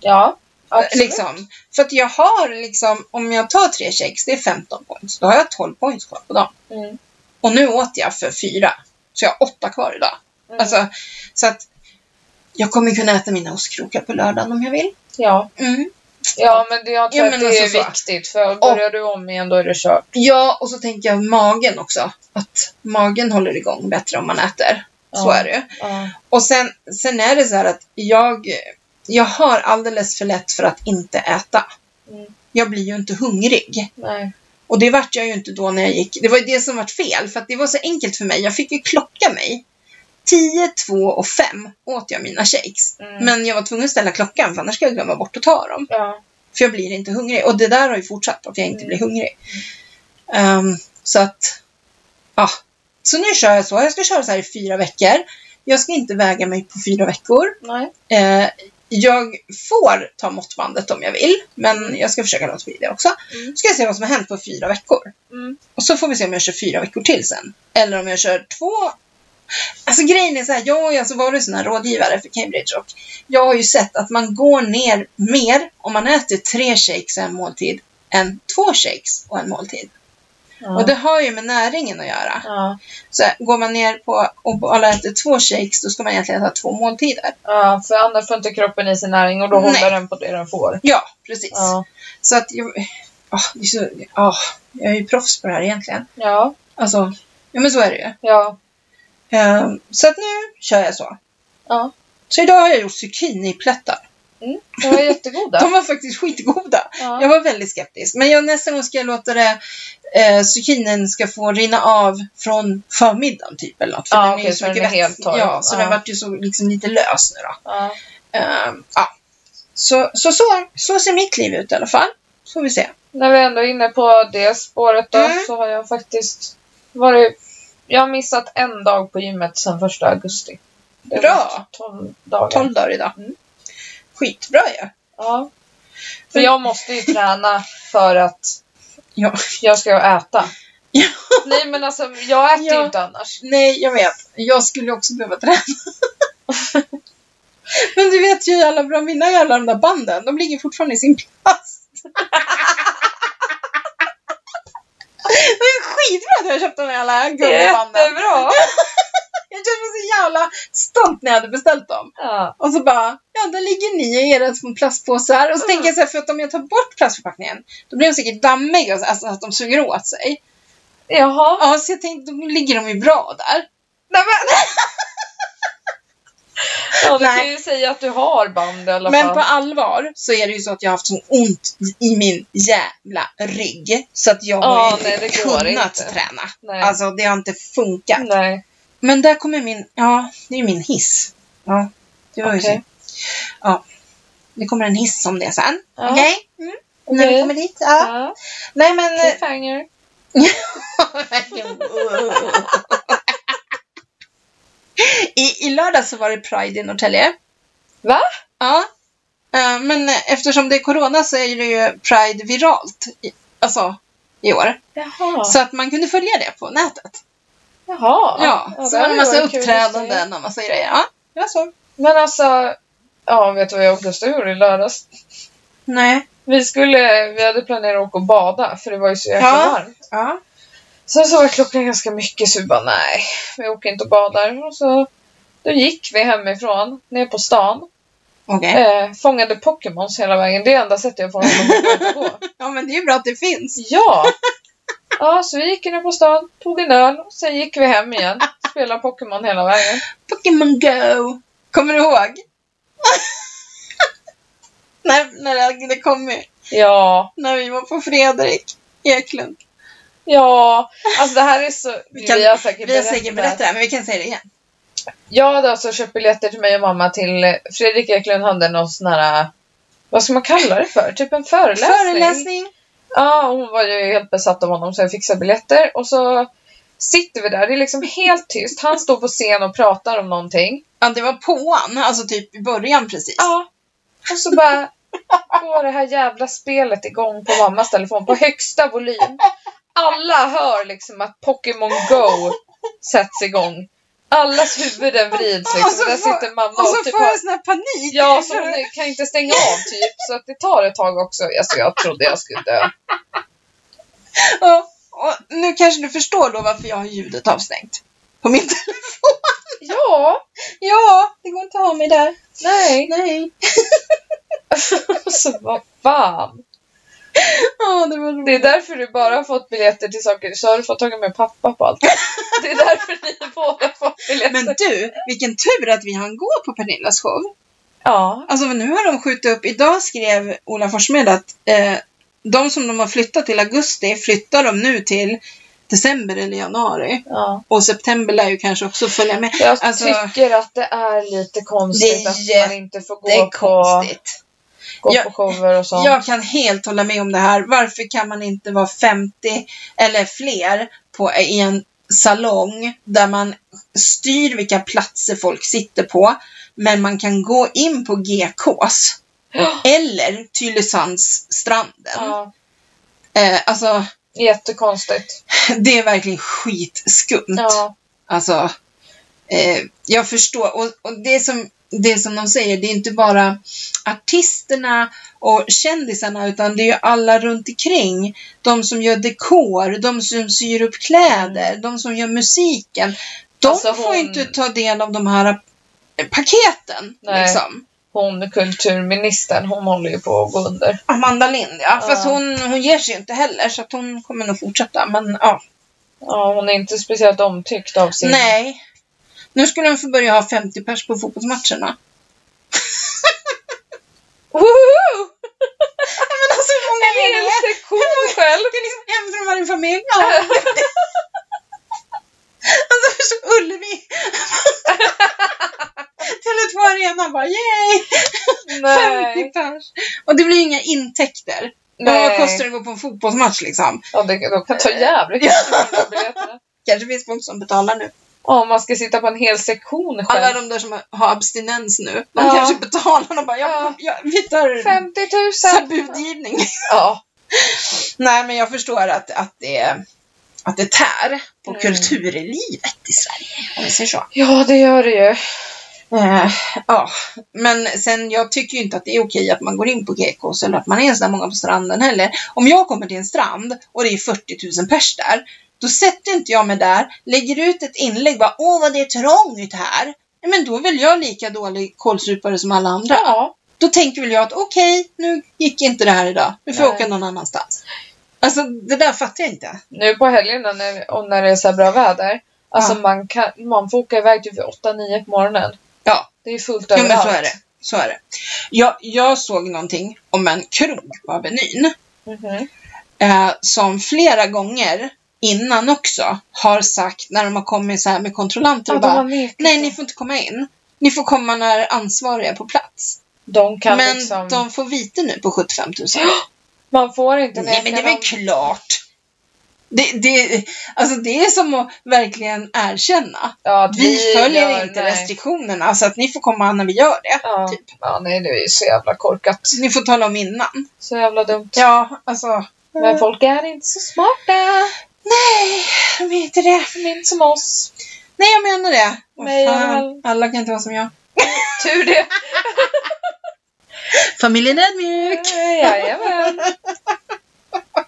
Speaker 1: ja, absolut.
Speaker 2: Liksom. För att jag har liksom, om jag tar tre shakes, det är 15 points. Då har jag 12 points kvar på dem.
Speaker 1: Mm,
Speaker 2: Och nu åt jag för fyra. Så jag har åtta kvar idag.
Speaker 1: mm.
Speaker 2: Alltså, så att jag kommer kunna äta mina ostkrokar på lördagen om jag vill.
Speaker 1: ja.
Speaker 2: Mm.
Speaker 1: ja, men det, jag tror
Speaker 2: Ja,
Speaker 1: att
Speaker 2: men
Speaker 1: det
Speaker 2: alltså
Speaker 1: är
Speaker 2: så.
Speaker 1: viktigt. För börjar du om igen då är det kört.
Speaker 2: Ja, och så tänker jag magen också. Att magen håller igång bättre om man äter. Så
Speaker 1: Ja.
Speaker 2: är det ju.
Speaker 1: Ja.
Speaker 2: Och sen, sen är det så här att jag, jag har alldeles för lätt för att inte äta.
Speaker 1: Mm.
Speaker 2: Jag blir ju inte hungrig.
Speaker 1: Nej.
Speaker 2: Och det vart jag ju inte då när jag gick. Det var ju det som vart fel, för att det var så enkelt för mig. Jag fick ju klocka mig. 10, 2 och 5 åt jag mina shakes.
Speaker 1: Mm.
Speaker 2: Men jag var tvungen att ställa klockan, för annars skulle jag glömma bort att ta dem.
Speaker 1: Ja.
Speaker 2: För jag blir inte hungrig. Och det där har ju fortsatt, att jag inte
Speaker 1: Mm.
Speaker 2: blir hungrig. Ehm, så att, ja. Så nu kör jag så. Jag ska köra så här i fyra veckor. Jag ska inte väga mig på fyra veckor.
Speaker 1: Nej.
Speaker 2: Eh, jag får ta måttbandet om jag vill, men jag ska försöka låta bli det också.
Speaker 1: Mm.
Speaker 2: Ska jag se vad som har hänt på fyra veckor.
Speaker 1: Mm.
Speaker 2: Och så får vi se om jag kör fyra veckor till sen. Eller om jag kör två. Alltså grejen är så här, jag har ju alltså varit sån här rådgivare för Cambridge och jag har ju sett att man går ner mer om man äter tre shakes och en måltid än två shakes och en måltid.
Speaker 1: Ja.
Speaker 2: Och det har ju med näringen att göra.
Speaker 1: ja.
Speaker 2: Så här, går man ner på, och bara äter två shakes, då ska man egentligen äta två måltider.
Speaker 1: ja, för annars får inte kroppen i sin näring och då
Speaker 2: Nej.
Speaker 1: håller den på det den får.
Speaker 2: Ja, precis.
Speaker 1: Ja.
Speaker 2: Så att jag... ah, det är så, ah, jag är ju proffs på det här egentligen.
Speaker 1: Ja.
Speaker 2: Alltså, ja men så är det ju.
Speaker 1: Ja.
Speaker 2: Ehm, så att nu kör jag så.
Speaker 1: ja.
Speaker 2: Så idag har jag gjort zucchiniplättar.
Speaker 1: De var jättegoda.
Speaker 2: De var faktiskt skitgoda.
Speaker 1: ja.
Speaker 2: Jag var väldigt skeptisk. Men jag, nästa gång ska jag låta det... Eh, zucchinin ska få rinna av från förmiddagen typ eller något. För
Speaker 1: Ja,
Speaker 2: den är
Speaker 1: okej,
Speaker 2: ju
Speaker 1: så
Speaker 2: så
Speaker 1: den
Speaker 2: mycket
Speaker 1: är helt
Speaker 2: vätsk-
Speaker 1: torr.
Speaker 2: Ja, så
Speaker 1: Ja.
Speaker 2: den vart ju så liksom lite lös nu då.
Speaker 1: Ja.
Speaker 2: Ehm, ja. Så, så, så, så ser mitt liv ut i alla fall. Så får vi se.
Speaker 1: När vi ändå är inne på det spåret då
Speaker 2: Mm.
Speaker 1: så har jag faktiskt varit... Jag har missat en dag på gymmet sedan första augusti. Det har
Speaker 2: Bra.
Speaker 1: varit 12 dagar.
Speaker 2: 12 dagar idag.
Speaker 1: Mm.
Speaker 2: Skitbra ju. Ja.
Speaker 1: Ja. För jag måste ju träna för att
Speaker 2: Ja.
Speaker 1: jag ska äta.
Speaker 2: Ja.
Speaker 1: Nej men alltså jag äter ju
Speaker 2: Ja.
Speaker 1: inte annars.
Speaker 2: Nej, jag vet. Jag skulle också behöva träna. Men du vet ju hur alla bra mina jävla de där banden, de ligger fortfarande i sin plats. Det är skitbra att jag köpte de här jävla gummibanden.
Speaker 1: Jättebra!
Speaker 2: Jag kände mig så jävla stolt när jag hade beställt dem.
Speaker 1: Ja.
Speaker 2: Och så bara, ja där ligger ni i era små plastpåsar. Och så tänker jag så här, för att om jag tar bort plastförpackningen, då blir de säkert dammiga, och så- alltså att de suger åt sig.
Speaker 1: Jaha.
Speaker 2: Ja, så jag tänkte, då ligger de ju bra där.
Speaker 1: Nej men! Ja, du kan
Speaker 2: Nej.
Speaker 1: ju säga att du har band i alla
Speaker 2: Men
Speaker 1: fall.
Speaker 2: på allvar så är det ju så att jag har haft så ont i min jävla rygg. Så att jag har
Speaker 1: Ja,
Speaker 2: ju
Speaker 1: nej,
Speaker 2: inte
Speaker 1: det går
Speaker 2: kunnat
Speaker 1: inte.
Speaker 2: träna.
Speaker 1: Nej.
Speaker 2: Alltså det har inte funkat.
Speaker 1: Nej.
Speaker 2: Men där kommer min, ja, det är ju min hiss. Ja, det var ju så.
Speaker 1: Okej.
Speaker 2: Ja. Det kommer en hiss om det sen.
Speaker 1: Ja.
Speaker 2: Okej? Mm. När vi
Speaker 1: Okej.
Speaker 2: kommer dit. Ja.
Speaker 1: Ja.
Speaker 2: Nej men...
Speaker 1: Cliffhanger.
Speaker 2: I, I lördag så var det Pride i Norrtälje.
Speaker 1: Va?
Speaker 2: Ja. Eh, Men eftersom det är corona så är det ju Pride viralt. I, alltså, i år.
Speaker 1: Jaha.
Speaker 2: Så att man kunde följa det på nätet.
Speaker 1: Jaha.
Speaker 2: Ja,
Speaker 1: det
Speaker 2: så var det
Speaker 1: hade
Speaker 2: en massa
Speaker 1: varit kul att se.
Speaker 2: uppträdanden och massa grejer. Ja, det var så.
Speaker 1: Men alltså, ja, vet du vad jag och Gustav gjorde i lördags?
Speaker 2: Nej.
Speaker 1: Vi, skulle, vi hade planerat att åka och bada för det var ju så jäkla
Speaker 2: Ja.
Speaker 1: varmt.
Speaker 2: Ja.
Speaker 1: Sen så var klockan ganska mycket så vi bara nej, vi åker inte och badar. Och så, då gick vi hemifrån, ner på stan,
Speaker 2: Okej.
Speaker 1: eh, fångade Pokémons hela vägen. Det är enda sättet jag får honom att gå.
Speaker 2: Ja, men det är ju bra att det finns.
Speaker 1: Ja! Ja, så vi gick ner på stan, tog en öl, och sen gick vi hem igen. Spelade Pokémon hela vägen.
Speaker 2: Pokémon Go! Kommer du ihåg? när, när det hade kommit.
Speaker 1: Ja,
Speaker 2: När vi var på Fredrik Eklund.
Speaker 1: ja. Alltså det här är så... Vi,
Speaker 2: kan-
Speaker 1: har säkert
Speaker 2: Vi har säkert berättat det här, men vi kan säga det igen.
Speaker 1: Jag hade alltså köpt biljetter till mig och mamma till eh, Fredrik Eklund hade någon sån här... Vad ska man kalla det för? Typ en föreläsning?
Speaker 2: Föreläsning.
Speaker 1: Ja, hon var ju helt besatt av honom så jag fixade biljetter. Och så sitter vi där, det är liksom helt tyst. Han står på scen och pratar om någonting.
Speaker 2: Ja, det var påan, alltså typ i början precis.
Speaker 1: Ja. Och så bara går det här jävla spelet igång på mammas telefon på högsta volym. Alla hör liksom att Pokémon Go sätts igång. Allas huvuden vrids
Speaker 2: Och
Speaker 1: liksom.
Speaker 2: så
Speaker 1: Där
Speaker 2: får-
Speaker 1: sitter mamma
Speaker 2: Och så
Speaker 1: och typ
Speaker 2: alltså, får
Speaker 1: har
Speaker 2: jag sån här panik.
Speaker 1: Ja, så hon kan inte stänga av typ. Så att det tar ett tag också. Alltså, jag trodde jag skulle dö.
Speaker 2: och, och nu kanske du förstår då varför jag har ljudet avstängt. På min telefon.
Speaker 1: Ja,
Speaker 2: Ja, det går inte att ha mig där.
Speaker 1: nej.
Speaker 2: Nej.
Speaker 1: Alltså vad fan.
Speaker 2: Ja, det var roligt.
Speaker 1: Det är därför du bara har fått biljetter till saker. Så har du fått tagit med pappa på allt. Det är därför ni båda har fått biljetter.
Speaker 2: Men du, vilken tur att vi hann gå på Pernillas show.
Speaker 1: Ja.
Speaker 2: Alltså nu har de skjutit upp, idag skrev Ola Forssmed att eh, de som de har flyttat till augusti flyttar de nu till december eller januari.
Speaker 1: ja.
Speaker 2: Och september lär ju kanske också följa med.
Speaker 1: Jag
Speaker 2: Alltså-
Speaker 1: tycker att det är lite konstigt
Speaker 2: Det är
Speaker 1: att man inte får
Speaker 2: Det är
Speaker 1: gå, på,
Speaker 2: konstigt.
Speaker 1: gå
Speaker 2: Jag-
Speaker 1: på shower och sånt.
Speaker 2: Jag kan helt hålla med om det här. Varför kan man inte vara 50 eller fler på, i en salong där man styr vilka platser folk sitter på, men man kan gå in på GKs
Speaker 1: Ja.
Speaker 2: eller Tylösandsstranden.
Speaker 1: Ja,
Speaker 2: Eh, alltså,
Speaker 1: jättekonstigt.
Speaker 2: Det är verkligen skitskumt.
Speaker 1: Ja.
Speaker 2: Alltså, eh, jag förstår. Och, och det, som, det som de säger, det är inte bara artisterna och kändisarna, utan det är ju alla runt omkring. De som gör dekor, de som syr upp kläder, de som gör musiken. De
Speaker 1: Alltså,
Speaker 2: får
Speaker 1: hon-
Speaker 2: inte ta del av de här eh, paketen.
Speaker 1: Nej.
Speaker 2: Liksom.
Speaker 1: Hon kulturministern, hon håller ju på att gå under.
Speaker 2: Amanda Lind, ja.
Speaker 1: Ja.
Speaker 2: Fast hon, hon ger sig ju inte heller, så att hon kommer nog fortsätta. Men ja,
Speaker 1: Ja, hon är inte speciellt omtyckt av sin...
Speaker 2: Nej. Nu skulle de få börja ha 50 pers på fotbollsmatcherna.
Speaker 1: Woho!
Speaker 2: Men alltså hur många
Speaker 1: En hel sektion själv!
Speaker 2: Det är liksom en från varje familj. Ja. alltså förstå Ullevi. Tele2 Arena bara yay! 50
Speaker 1: Nej.
Speaker 2: pers. Och det blir ju inga intäkter. Men Vad kostar det
Speaker 1: Nej.
Speaker 2: att gå på en fotbollsmatch liksom?
Speaker 1: Ja, det, de kan ta jävligt mycket för de här biljetterna.
Speaker 2: Kanske finns folk som betalar nu.
Speaker 1: Ja, man ska sitta på en hel sektion
Speaker 2: Alla
Speaker 1: själv.
Speaker 2: de där som har abstinens nu, de
Speaker 1: Ja.
Speaker 2: kanske betalar. De bara, ja, ja. vi tar
Speaker 1: 50
Speaker 2: så här
Speaker 1: 000!
Speaker 2: budgivning.
Speaker 1: Ja.
Speaker 2: Nej, men jag förstår att, att, det, att det tär på
Speaker 1: Mm.
Speaker 2: kulturlivet i Sverige, om vi säger så.
Speaker 1: ja, det gör det ju. Mm.
Speaker 2: Eh, ja, men sen jag tycker ju inte att det är okej att man går in på GKs eller att man är så där många på stranden heller. Om jag kommer till en strand och det är 40 000 pers där, då sätter inte jag mig där, lägger ut ett inlägg bara åh vad det är trångt här. Nej, Men då är väl jag lika dålig kålsupare som alla andra.
Speaker 1: Ja.
Speaker 2: Då tänker väl jag att okej, nu gick inte det här idag. Nu får jag
Speaker 1: Nej.
Speaker 2: åka någon annanstans. Alltså det där fattar jag inte.
Speaker 1: Nu på helgerna när, och när det är så här bra väder. Alltså
Speaker 2: Ja.
Speaker 1: man, kan, man får åka iväg typ vid 8-9 på morgonen.
Speaker 2: Ja,
Speaker 1: Det är fullt
Speaker 2: jo, men
Speaker 1: överallt.
Speaker 2: så är det. Så är det. Jag, jag såg någonting om en krog på Avenyn
Speaker 1: Mhm.
Speaker 2: eh, som flera gånger innan också har sagt när de har kommit så här med kontrollanter
Speaker 1: Ja,
Speaker 2: och
Speaker 1: de har
Speaker 2: bara
Speaker 1: nekat.
Speaker 2: nej ni får inte komma in. Ni får komma när ansvariga är på plats.
Speaker 1: De kan
Speaker 2: men
Speaker 1: liksom...
Speaker 2: de får vite nu på 75 000.
Speaker 1: Man får inte
Speaker 2: nej men det är väl
Speaker 1: någon-
Speaker 2: klart. Det, det, alltså det är som att verkligen erkänna.
Speaker 1: Ja, att
Speaker 2: Vi, följer inte typ.
Speaker 1: nej.
Speaker 2: restriktionerna så att ni får komma när vi gör det.
Speaker 1: Ja. ja, nej det är ju så jävla korkat.
Speaker 2: Ni får tala om innan.
Speaker 1: Så jävla dumt.
Speaker 2: Ja, alltså.
Speaker 1: Men folk är inte så smarta.
Speaker 2: Nej, de är inte det.
Speaker 1: De är inte som oss.
Speaker 2: Nej, jag menar det. Vad
Speaker 1: Nej, jag
Speaker 2: fan,
Speaker 1: väl.
Speaker 2: Alla kan inte vara som jag.
Speaker 1: Tur det.
Speaker 2: Familjen är mjuk.
Speaker 1: Jajamän.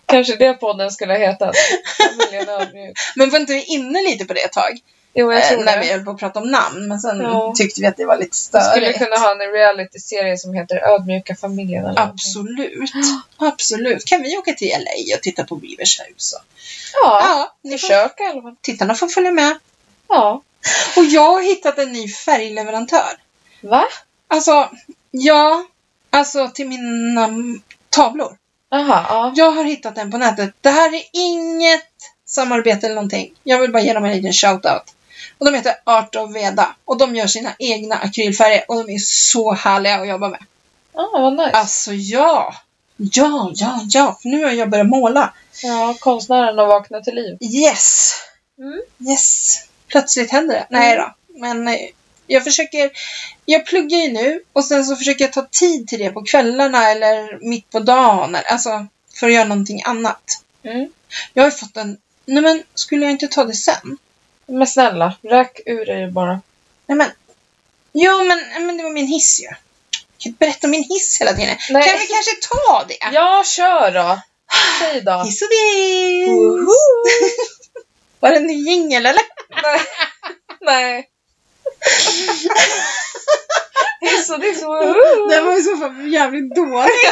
Speaker 1: Kanske det podden skulle ha hetat. Familjen Ödmjuk.
Speaker 2: Men var inte vi inne lite på det ett tag?
Speaker 1: Jo, jag
Speaker 2: Eh,
Speaker 1: tror
Speaker 2: när vi
Speaker 1: det.
Speaker 2: höll på att prata om namn. Men sen
Speaker 1: Ja.
Speaker 2: tyckte vi att det var lite
Speaker 1: Vi skulle
Speaker 2: störigt.
Speaker 1: kunna ha en reality-serie som heter Ödmjuka familjen. Eller någonting.
Speaker 2: Absolut. Absolut. Kan vi åka till LA och titta på Beavers hus? och-
Speaker 1: Ja,
Speaker 2: Ja, ni får,
Speaker 1: försök i alla fall.
Speaker 2: tittarna får följa med.
Speaker 1: Ja.
Speaker 2: Och jag har hittat en ny färgleverantör.
Speaker 1: Va?
Speaker 2: Alltså, ja. Alltså till mina mm, tavlor.
Speaker 1: Jaha, ja.
Speaker 2: Jag har hittat den på nätet. Det här är inget samarbete eller någonting. Jag vill bara ge dem en liten shoutout. Och de heter Art of Veda. Och de gör sina egna akrylfärger. Och de är så härliga att jobba med.
Speaker 1: Ja, vad nice.
Speaker 2: Alltså ja! Ja, ja, ja! För nu har jag börjat måla.
Speaker 1: Ja, konstnären har vaknat till liv.
Speaker 2: Yes!
Speaker 1: Mm.
Speaker 2: Yes! Plötsligt händer det. Nej då. Men eh, jag försöker... Jag pluggar ju nu och sen så försöker jag ta tid till det på kvällarna eller mitt på dagen. Alltså, för att göra någonting annat.
Speaker 1: Mm.
Speaker 2: Jag har ju fått en... Nej men, skulle jag inte ta det sen?
Speaker 1: Men snälla, räk ur dig bara.
Speaker 2: Nej men... Jo men, nej, men det var min hiss ju. Jag kan inte berätta om min hiss hela tiden.
Speaker 1: Nej.
Speaker 2: Kan vi kanske ta det?
Speaker 1: Ja, kör då! Säg då.
Speaker 2: Hiss och diss!
Speaker 1: Woho!
Speaker 2: Var det en ny jingel eller?
Speaker 1: Nej. Nej. Hiss och diss, woho!
Speaker 2: Den var i så fall jävligt dålig.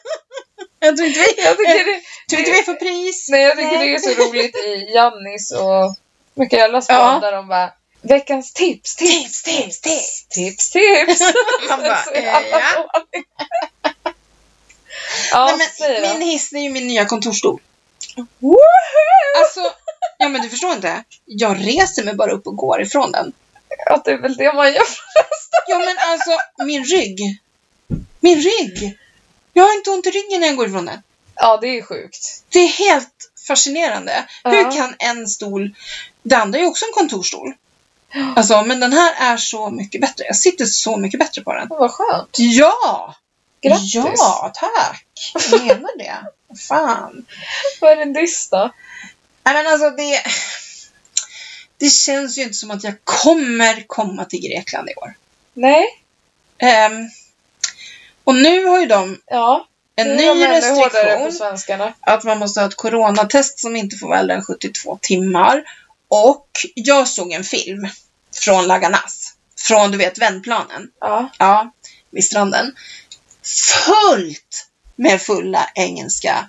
Speaker 2: jag tror inte vi,
Speaker 1: Jag tycker det,
Speaker 2: tror inte vi får pris.
Speaker 1: nej, jag tycker det är så roligt i Jannis och Mikaelas podd
Speaker 2: Ja.
Speaker 1: där de bara Veckans tips, tips, tips, tips, tips, tips.
Speaker 2: Man bara,
Speaker 1: Så
Speaker 2: eh,
Speaker 1: jävla
Speaker 2: ja.
Speaker 1: dåligt. Ja,
Speaker 2: Nej,
Speaker 1: säg
Speaker 2: men,
Speaker 1: då.
Speaker 2: min hiss är ju min nya kontorsstol.
Speaker 1: Woho!
Speaker 2: Alltså, ja men du förstår inte. Jag reser mig bara upp och går ifrån den.
Speaker 1: Att det är väl det man gör.
Speaker 2: Ja men alltså, min rygg. Min rygg! Jag har inte ont i ryggen när jag går ifrån den.
Speaker 1: Ja, det är sjukt.
Speaker 2: Det är helt fascinerande.
Speaker 1: Ja.
Speaker 2: Hur kan en stol... Det andra är ju också en kontorsstol. Alltså, men den här är så mycket bättre. Jag sitter så mycket bättre på den.
Speaker 1: Vad skönt.
Speaker 2: Ja!
Speaker 1: Grattis!
Speaker 2: Ja, tack! Jag menar det. Fan.
Speaker 1: Vad är en diss då?
Speaker 2: Nej, men alltså det... Det känns ju inte som att jag kommer komma till Grekland i år.
Speaker 1: Nej?
Speaker 2: Ehm, och nu har ju de
Speaker 1: Ja.
Speaker 2: en
Speaker 1: Nu
Speaker 2: ny
Speaker 1: är de ännu hårdare på
Speaker 2: restriktion.
Speaker 1: svenskarna.
Speaker 2: att man måste ha ett coronatest som inte får vara äldre än 72 timmar. Och jag såg en film från Laganas. Från, du vet, vändplanen.
Speaker 1: Ja.
Speaker 2: Ja, vid stranden. Fullt med fulla engelska.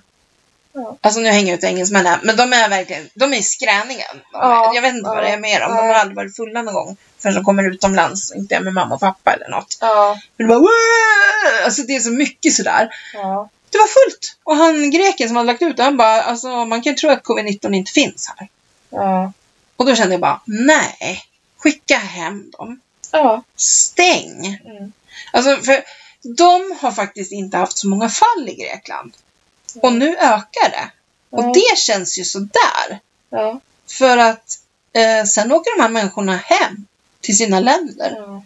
Speaker 1: Ja.
Speaker 2: Alltså nu hänger jag ut engelsmännen, men de är verkligen, de är skräniga. De är,
Speaker 1: Ja,
Speaker 2: jag vet inte vad
Speaker 1: ja,
Speaker 2: det är med dem. De har
Speaker 1: nej.
Speaker 2: aldrig varit fulla någon gång förrän de kommer utomlands, inte är med mamma och pappa eller något.
Speaker 1: Ja.
Speaker 2: Men de bara, "Wah!" alltså det är så mycket sådär.
Speaker 1: Ja.
Speaker 2: Det var fullt! Och han greken som hade lagt ut det, han bara, alltså man kan ju tro att covid-19 inte finns här.
Speaker 1: Ja.
Speaker 2: Och då kände jag bara, nej, skicka hem dem.
Speaker 1: Ja.
Speaker 2: Stäng!
Speaker 1: Mm.
Speaker 2: Alltså, för de har faktiskt inte haft så många fall i Grekland. Och nu ökar
Speaker 1: Mm.
Speaker 2: det. Och det känns ju sådär.
Speaker 1: Ja.
Speaker 2: För att eh, sen åker de här människorna hem till sina länder.
Speaker 1: Ja.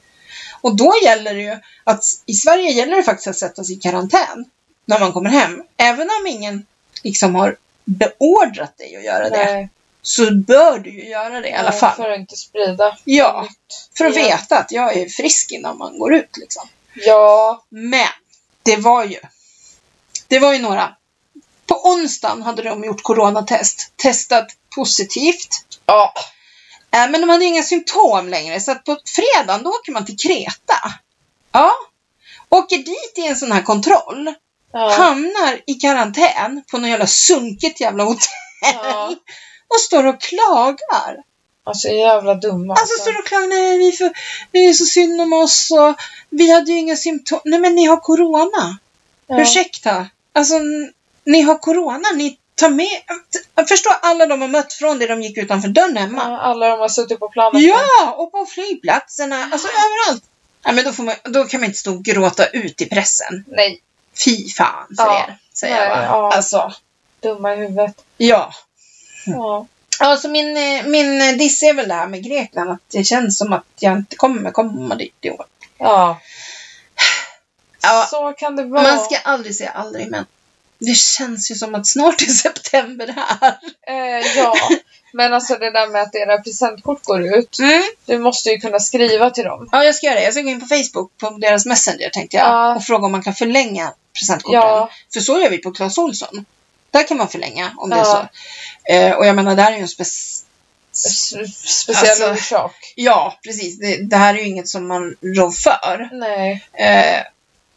Speaker 2: Och då gäller det ju att i Sverige gäller det faktiskt att sätta sig i karantän när man kommer hem. Även om ingen liksom har beordrat dig att göra det
Speaker 1: Nej.
Speaker 2: så bör du ju göra det i alla
Speaker 1: Nej,
Speaker 2: fall.
Speaker 1: För att inte sprida.
Speaker 2: Ja, för att
Speaker 1: Ja.
Speaker 2: veta att jag är frisk innan man går ut liksom.
Speaker 1: Ja.
Speaker 2: Men det var ju, det var ju några. På onsdagen hade de gjort coronatest, testat positivt.
Speaker 1: Ja.
Speaker 2: Äh, men de hade inga symptom längre, så att på fredagen då åker man till Kreta. Ja. Åker dit i en sån här kontroll,
Speaker 1: Ja.
Speaker 2: hamnar i karantän på något jävla sunkigt jävla hotell
Speaker 1: Ja.
Speaker 2: och står och klagar.
Speaker 1: Alltså jävla dumma.
Speaker 2: Alltså står och klagar, nej vi får, det är så synd om oss och vi hade ju inga symptom. Nej men ni har corona.
Speaker 1: ja.
Speaker 2: Ursäkta. Alltså n- ni har corona, ni tar med, jag förstår alla de har mött från det de gick utanför dörren hemma.
Speaker 1: Ja, Alla de har suttit på planet.
Speaker 2: Ja, och på flygplatserna. Alltså överallt. Ja, men då, får man, då kan man inte stå och gråta ut i pressen.
Speaker 1: Nej.
Speaker 2: Fy fan för
Speaker 1: Ja.
Speaker 2: er, säger jag
Speaker 1: Nej,
Speaker 2: bara.
Speaker 1: ja.
Speaker 2: Alltså,
Speaker 1: Dumma i huvudet.
Speaker 2: ja.
Speaker 1: Ja.
Speaker 2: Ja, så min, eh, min eh, diss är väl det här med Grekland, att det känns som att jag inte kommer komma dit i år.
Speaker 1: ja.
Speaker 2: Ja,
Speaker 1: Så kan det vara.
Speaker 2: man ska aldrig säga aldrig, men det känns ju som att snart är september här.
Speaker 1: Eh, ja. Men alltså det där med att era presentkort går ut. Du måste ju kunna skriva till dem.
Speaker 2: Ja, jag ska göra det. Jag ska gå in på Facebook, på deras Messenger tänkte jag,
Speaker 1: Ja.
Speaker 2: och fråga om man kan förlänga presentkorten.
Speaker 1: Ja.
Speaker 2: För så gör vi på Clas Ohlson. Där kan man förlänga om det är
Speaker 1: Ja.
Speaker 2: så. Eh, och jag menar, där är ju en spec...
Speaker 1: S- Speciell
Speaker 2: Alltså-
Speaker 1: orsak.
Speaker 2: Ja, precis. Det, det här är ju inget som man rår för.
Speaker 1: Nej.
Speaker 2: Eh,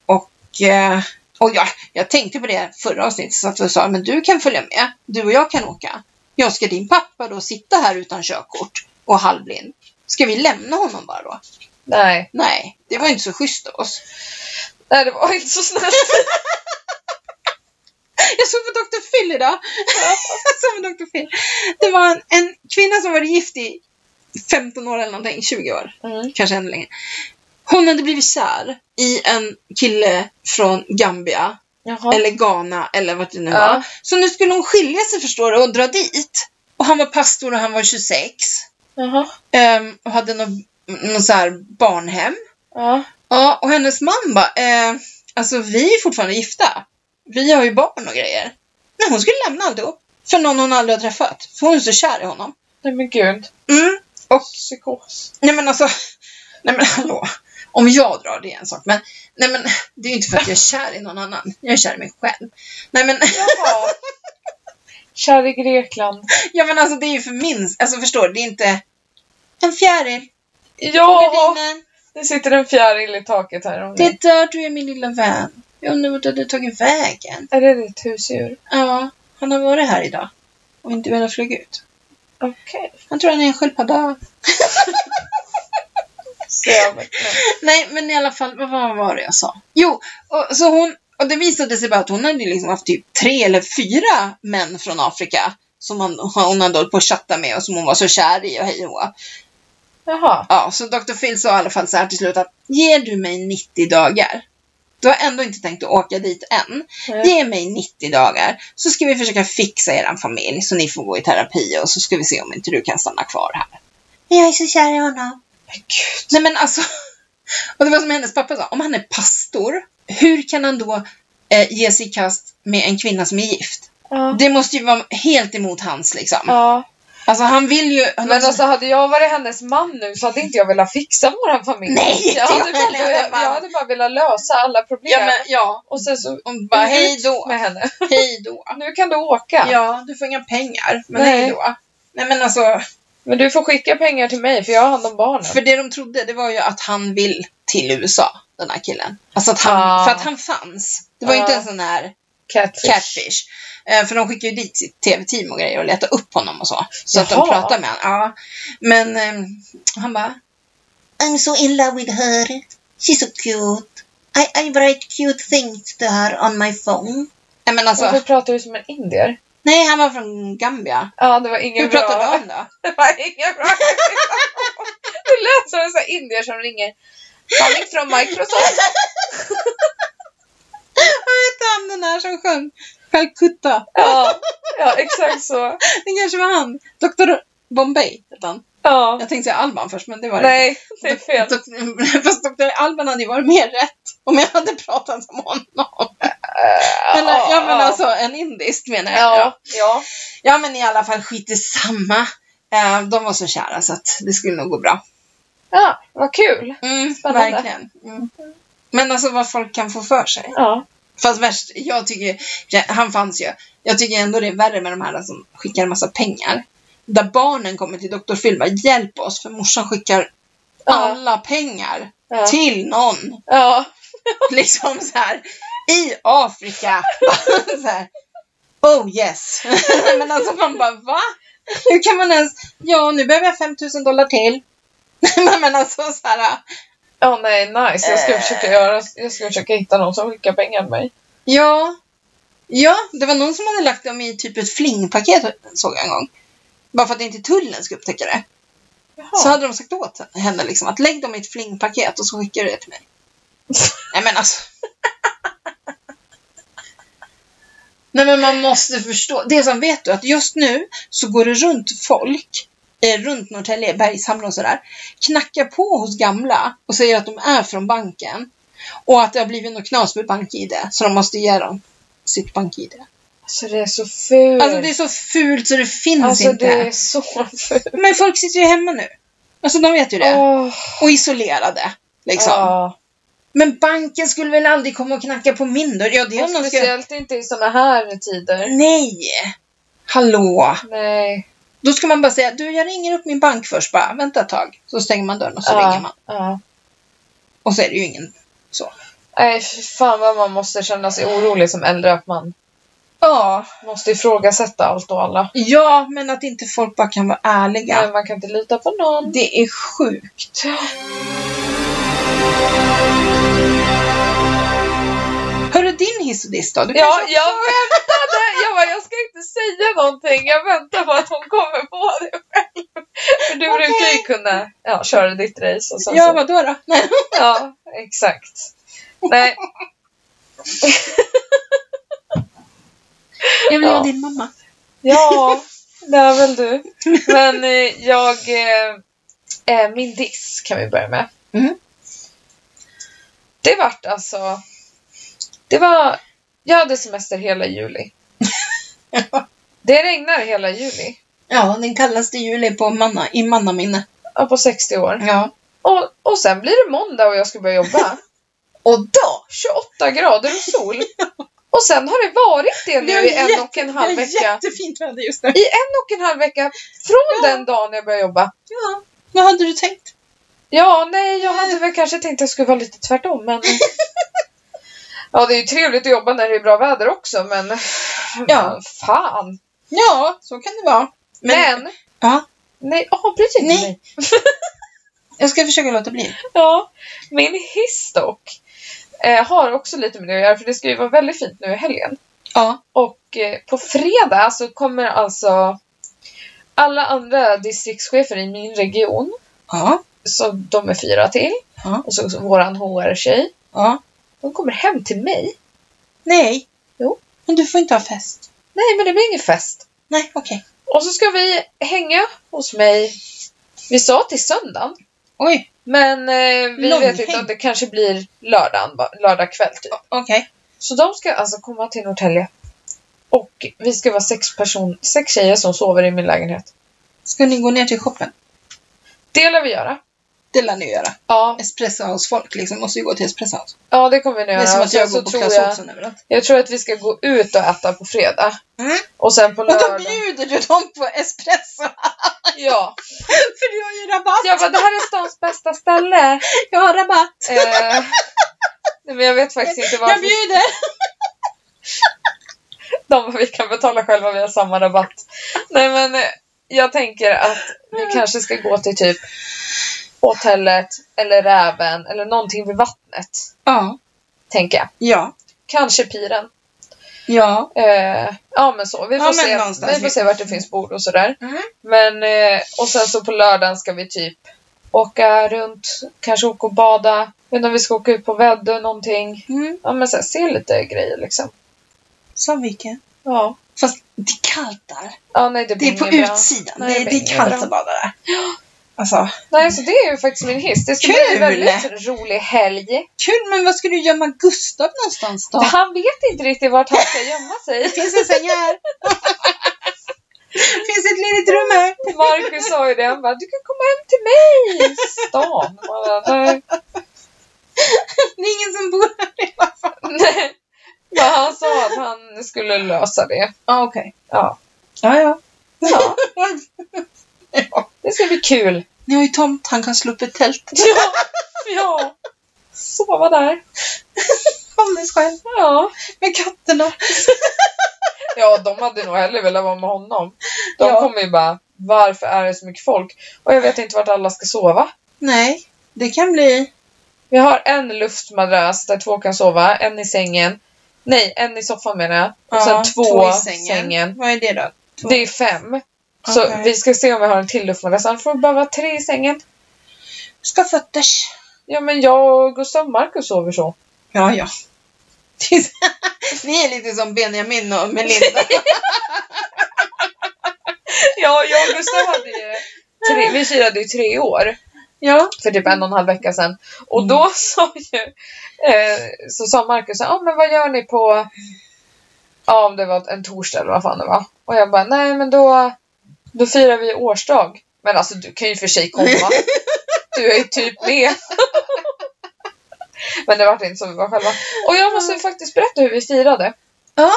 Speaker 2: och eh, och jag, jag tänkte på det förra avsnittet, så att jag sa, men du kan följa med. Du och jag kan åka. Jag ska din pappa då sitta här utan körkort och halvblind? Ska vi lämna honom bara då?
Speaker 1: Nej.
Speaker 2: Nej, det var ju inte så schysst av oss.
Speaker 1: Nej, det var inte så snällt.
Speaker 2: Jag såg på Dr. Phil idag. jag såg på Dr. Phil. Det var en, en kvinna som var gift i 15 år eller någonting, 20 år,
Speaker 1: Mm.
Speaker 2: kanske ännu längre. Hon hade blivit kär i en kille från Gambia,
Speaker 1: Jaha.
Speaker 2: eller Ghana, eller vart det nu
Speaker 1: Ja.
Speaker 2: var. Så nu skulle hon skilja sig förstår du och dra dit. Och han var pastor och han var 26.
Speaker 1: Jaha.
Speaker 2: ehm, och hade någon, någon så här barnhem.
Speaker 1: Ja.
Speaker 2: Ja, och hennes man bara, eh, alltså vi är fortfarande gifta. Vi har ju barn och grejer. Men hon skulle lämna alltihop. För någon hon aldrig har träffat. För hon är så kär i honom.
Speaker 1: Nej men gud.
Speaker 2: Mm.
Speaker 1: Psykos.
Speaker 2: Nej men alltså, nej men hallå. Om jag drar det är en sak, men nej men det är ju inte för att jag är kär i någon annan. Jag är kär i mig själv. Nej men,
Speaker 1: Jaha. Kär i Grekland.
Speaker 2: ja men alltså det är ju för min, alltså förstår du, det är inte en fjäril.
Speaker 1: Ja!
Speaker 2: Gardinen.
Speaker 1: Det sitter en fjäril i taket här. Om
Speaker 2: Det
Speaker 1: det...
Speaker 2: är där du är min lilla vän. Jag undrar vart du hade tagit vägen.
Speaker 1: Är det ditt husdjur?
Speaker 2: Ja, han har varit här idag. Och inte velat flyga ut.
Speaker 1: Okej.
Speaker 2: Han tror han är en sköldpadda.
Speaker 1: Okay.
Speaker 2: Nej, men i alla fall, vad vad var det jag sa? Jo, och, så hon, och det visade sig bara att hon hade ju liksom haft typ tre eller fyra män från Afrika som hon, hon hade hållit på att chatta med och som hon var så kär i och hej och hå.
Speaker 1: Jaha.
Speaker 2: Ja, så Dr. Phil sa i alla fall så här till slut att ger du mig 90 dagar, du har ändå inte tänkt att åka dit än,
Speaker 1: Nej.
Speaker 2: ge mig 90 dagar så ska vi försöka fixa eran familj så ni får gå i terapi och så ska vi se om inte du kan stanna kvar här. Men jag är så kär i honom.
Speaker 1: Men gud.
Speaker 2: Nej men alltså. Och det var som hennes pappa sa, om han är pastor, hur kan han då eh, ge sig i kast med en kvinna som är gift?
Speaker 1: Ja.
Speaker 2: Det måste ju vara helt emot hans liksom.
Speaker 1: ja.
Speaker 2: Alltså han vill ju... Han
Speaker 1: Men alltså hade jag varit hennes man nu så hade inte jag velat fixa våran familj.
Speaker 2: Nej, inte
Speaker 1: jag hade,
Speaker 2: jag heller,
Speaker 1: bara,
Speaker 2: jag
Speaker 1: jag,
Speaker 2: bara-
Speaker 1: hade bara velat lösa alla problem.
Speaker 2: ja, men, ja.
Speaker 1: Och sen så
Speaker 2: Och bara hej då,
Speaker 1: med henne.
Speaker 2: hej då.
Speaker 1: Nu kan du åka.
Speaker 2: Ja, du får inga pengar, men
Speaker 1: Nej.
Speaker 2: hej då. Nej men alltså,
Speaker 1: Men du får skicka pengar till mig för jag har hand om barnen.
Speaker 2: för det de trodde det var ju att han vill till USA, den här killen. Alltså att han,
Speaker 1: Ah.
Speaker 2: för att han fanns. Det var ju
Speaker 1: Ah.
Speaker 2: inte en sån här
Speaker 1: Catfish.
Speaker 2: Catfish. Eh, för de skickar ju dit sitt tv-team och grejer och letar upp honom och så. Så att de
Speaker 1: Jaha.
Speaker 2: pratar med honom. Ja. Men eh, han bara I'm so in love with her. She's so cute. I, I write cute things to her on my phone. Nej men alltså,
Speaker 1: Varför pratar du som en indier?
Speaker 2: nej han var från Gambia.
Speaker 1: Ja, det var ingen
Speaker 2: Hur
Speaker 1: bra.
Speaker 2: pratar de då?
Speaker 1: Det var ingen bra. Det lät som en sån här indier som ringer. Calling från Microsoft.
Speaker 2: Vad hette han den där som sjöng? Calcutta.
Speaker 1: Ja, ja exakt så.
Speaker 2: Det kanske var han. Dr. Bombay hette han.
Speaker 1: Ja.
Speaker 2: Jag tänkte säga Alban först men det var det inte.
Speaker 1: Nej, det är fel.
Speaker 2: Dok- Fast doktor Alban hade ju varit mer rätt om jag hade pratat som honom. Eller,
Speaker 1: Ja,
Speaker 2: ja men
Speaker 1: Eh, ja.
Speaker 2: alltså en indisk menar jag.
Speaker 1: Ja, ja.
Speaker 2: ja men i alla fall skit i samma. Eh, De var så kära så att det skulle nog gå bra.
Speaker 1: Ja, vad kul.
Speaker 2: Mm,
Speaker 1: Spännande.
Speaker 2: verkligen. Mm. Men alltså vad folk kan få för sig.
Speaker 1: Ja.
Speaker 2: Fast värst, jag tycker, ja, han fanns ju. Jag tycker ändå det är värre med de här som skickar en massa pengar. Där barnen kommer till doktor Phil bara, hjälp oss för morsan skickar
Speaker 1: Ja.
Speaker 2: alla pengar
Speaker 1: Ja.
Speaker 2: till någon.
Speaker 1: Ja.
Speaker 2: liksom så här i Afrika. så här, oh yes. Men alltså man bara va? Hur kan man ens, ja nu behöver jag 5000 dollar till. Men alltså så här,
Speaker 1: Ja, nej, nice. Jag ska
Speaker 2: Eh.
Speaker 1: försöka göra, jag ska försöka hitta någon som skickar pengar till mig.
Speaker 2: ja. Ja, det var någon som hade lagt dem i typ ett flingpaket såg jag en gång. Bara för att inte tullen skulle upptäcka det. Så
Speaker 1: Jaha.
Speaker 2: hade de sagt åt henne liksom att lägg dem i ett flingpaket och så skickar du det till mig. Nej men alltså. Nej men man måste förstå. Det är som, vet du att just nu så går det runt folk eh, runt Norrtälje, Bergshamra och sådär. Knackar på hos gamla och säger att de är från banken. Och att det har blivit något knas med bank-id. Så de måste ge dem sitt bank-id.
Speaker 1: Alltså det är så fult.
Speaker 2: Alltså det är så fult så det finns
Speaker 1: Alltså,
Speaker 2: inte.
Speaker 1: det är så fult.
Speaker 2: Men folk sitter ju hemma nu. Alltså de vet ju det.
Speaker 1: Åh,
Speaker 2: Och isolerade. Liksom.
Speaker 1: ja.
Speaker 2: Men banken skulle väl aldrig komma och knacka på min dörr? Ja, det är
Speaker 1: Och
Speaker 2: om de ska... Mm.
Speaker 1: speciellt inte i såna här tider.
Speaker 2: Nej! Hallå!
Speaker 1: Nej.
Speaker 2: Då ska man bara säga, du jag ringer upp min bank först bara, vänta ett tag. Så stänger man dörren och så
Speaker 1: ja,
Speaker 2: ringer man.
Speaker 1: Ja.
Speaker 2: Och så är det ju ingen.
Speaker 1: Nej, fy fan vad man måste känna sig orolig som äldre. Att man
Speaker 2: Ja,
Speaker 1: måste ifrågasätta allt och alla.
Speaker 2: ja men att inte folk bara kan vara ärliga.
Speaker 1: Men man kan inte lita på någon.
Speaker 2: Det är sjukt. Hörru, din hiss och diss då? Du
Speaker 1: Ja,
Speaker 2: kanske-
Speaker 1: jag väntade! Jag bara, jag ska inte säga någonting. Jag väntar på att hon kommer på det själv. För du brukar ju kunna ja, köra ditt race och sen
Speaker 2: ja
Speaker 1: så.
Speaker 2: vadå då? Nej.
Speaker 1: Ja, exakt. Nej,
Speaker 2: Jag vill
Speaker 1: Ja.
Speaker 2: vara din mamma.
Speaker 1: ja, det är väl du. Men eh, jag... eh, Eh, min diss kan vi börja med.
Speaker 2: Mhm.
Speaker 1: Det vart alltså... Det var... Jag hade semester hela juli. Det regnar hela juli.
Speaker 2: Ja, den kallaste juli på manna, i mannaminne.
Speaker 1: Ja, på 60 år.
Speaker 2: Ja.
Speaker 1: Och, och sen blir det måndag och jag ska börja jobba.
Speaker 2: Och då?
Speaker 1: 28 grader och sol. Och sen har det varit det nu
Speaker 2: Det är
Speaker 1: i en
Speaker 2: jätte-
Speaker 1: och en halv
Speaker 2: det är
Speaker 1: vecka.
Speaker 2: jättefint väder just nu.
Speaker 1: I en och en halv vecka från den dagen jag började jobba.
Speaker 2: Ja. Vad hade du tänkt?
Speaker 1: Ja, nej, jag hade väl kanske tänkt att jag skulle vara lite tvärtom, men... Ja, det är ju trevligt att jobba när det är bra väder också, men...
Speaker 2: Ja.
Speaker 1: Fan!
Speaker 2: Ja, så kan det vara.
Speaker 1: Men...
Speaker 2: Ja.
Speaker 1: Nej, avbryt inte
Speaker 2: Nej.
Speaker 1: mig.
Speaker 2: Jag ska försöka låta bli.
Speaker 1: Ja, min hiss dock eh, har också lite med det att göra, för det ska ju vara väldigt fint nu i helgen.
Speaker 2: Ja.
Speaker 1: Och eh, på fredag så kommer alltså alla andra distriktschefer i min region,
Speaker 2: Ja.
Speaker 1: så de är fyra till,
Speaker 2: Ja.
Speaker 1: och så, så våran HR-tjej,
Speaker 2: Ja.
Speaker 1: de kommer hem till mig.
Speaker 2: Nej.
Speaker 1: Jo.
Speaker 2: Men du får inte ha fest.
Speaker 1: Nej, men det blir ingen fest.
Speaker 2: Nej, okej.
Speaker 1: Och så ska vi hänga hos mig, vi sa till söndagen,
Speaker 2: Oj.
Speaker 1: men eh, vi vet inte
Speaker 2: Långhäng.
Speaker 1: om det kanske blir lördagen, va- lördag kväll typ.
Speaker 2: Okej.
Speaker 1: Så de ska alltså komma till Norrtälje. Och vi ska vara sex, person, sex tjejer som sover i min lägenhet.
Speaker 2: Ska ni gå ner till shoppen?
Speaker 1: Det lär vi göra.
Speaker 2: Det lär ni göra.
Speaker 1: Ja,
Speaker 2: Espresso House-folk liksom måste ju gå till Espresso House.
Speaker 1: ja det kommer vi
Speaker 2: Det
Speaker 1: göra.
Speaker 2: är som att
Speaker 1: Sen
Speaker 2: jag
Speaker 1: så
Speaker 2: går på
Speaker 1: tror
Speaker 2: Clas
Speaker 1: jag,
Speaker 2: Ohlson överallt.
Speaker 1: jag tror att vi ska gå ut och äta på fredag.
Speaker 2: Mm.
Speaker 1: Och sen på
Speaker 2: Och då
Speaker 1: lördag.
Speaker 2: bjuder du dem på espresso!
Speaker 1: Ja.
Speaker 2: För du har ju rabatt!
Speaker 1: Jag bara, det här är stans bästa ställe.
Speaker 2: Jag har rabatt!
Speaker 1: Eh, nej, men jag vet faktiskt inte
Speaker 2: Jag
Speaker 1: varför.
Speaker 2: bjuder!
Speaker 1: De bara, vi kan betala själva, vi har samma rabatt. Nej men eh, jag tänker att vi
Speaker 2: Mm.
Speaker 1: kanske ska gå till typ hotellet eller Räven eller någonting vid vattnet.
Speaker 2: Ja.
Speaker 1: tänker jag.
Speaker 2: Ja.
Speaker 1: Kanske piren.
Speaker 2: Ja.
Speaker 1: Eh, ja men så, vi får,
Speaker 2: Ja, men
Speaker 1: se.
Speaker 2: någonstans
Speaker 1: vi får se vart det finns bord och sådär.
Speaker 2: Mm.
Speaker 1: Men, eh, och sen så på lördagen ska vi typ åka runt, kanske åka och bada. Jag vet inte om vi ska åka ut på Väddö någonting.
Speaker 2: Mm.
Speaker 1: Ja men så här, se lite grejer liksom.
Speaker 2: Som vilken?
Speaker 1: Ja.
Speaker 2: Fast det är kallt där.
Speaker 1: Ja nej det
Speaker 2: Det
Speaker 1: blir
Speaker 2: är på
Speaker 1: inget bra.
Speaker 2: utsidan.
Speaker 1: Nej,
Speaker 2: det, är- det
Speaker 1: inget
Speaker 2: är kallt
Speaker 1: bra.
Speaker 2: att bada där. Alltså,
Speaker 1: Nej så det är ju faktiskt min hiss. Det ska bli en
Speaker 2: Kul!
Speaker 1: väldigt rolig helg.
Speaker 2: kul men vad ska du gömma Gustav någonstans då?
Speaker 1: Han vet inte riktigt vart han ska gömma sig.
Speaker 2: Finns en säng här? Finns ett ledigt rum här?
Speaker 1: Marcus sa ju det, han bara du kan komma hem till mig! Stan! Man bara, nej.
Speaker 2: Det är ingen som bor här i alla fall.
Speaker 1: Nej. Men han sa att han skulle lösa det.
Speaker 2: Ja, okej.
Speaker 1: Ja.
Speaker 2: Ja, ja.
Speaker 1: ja. Det ska bli kul.
Speaker 2: Ni har ju tomt, han kan slå upp ett tält
Speaker 1: Ja. ja. Sova där.
Speaker 2: alldeles själv.
Speaker 1: Ja.
Speaker 2: Med katterna.
Speaker 1: Ja, de hade nog hellre velat vara med honom. De
Speaker 2: Ja.
Speaker 1: kommer ju bara, varför är det så mycket folk? Och jag vet inte vart alla ska sova.
Speaker 2: Nej, det kan bli...
Speaker 1: Vi har en luftmadrass där två kan sova, en i sängen. Nej, en i soffan menar jag. Och sen
Speaker 2: Ja,
Speaker 1: två, i sängen.
Speaker 2: Vad är det då? Två.
Speaker 1: Det är fem. Så
Speaker 2: Okej.
Speaker 1: vi ska se om vi har en till luftmadrass. Annars får vi bara vara tre i sängen.
Speaker 2: Ska fötters.
Speaker 1: Ja, men jag och Gustav och Marcus sover så.
Speaker 2: Ja, ja. Ni är lite som Benjamin och Melinda.
Speaker 1: Ja, jag och Gustav hade ju tre, vi firade ju tre år
Speaker 2: ja.
Speaker 1: för typ en och en halv vecka sedan. Och då sa ju eh, så sa Marcus så här, ah, men vad gör ni på ja, om det var en torsdag eller vad fan det var. Och jag bara nej men då, då firar vi årsdag. Men alltså du kan ju för sig komma. Du är ju typ med. men det var inte så vi var själva. Och jag måste faktiskt berätta hur vi firade.
Speaker 2: Ja.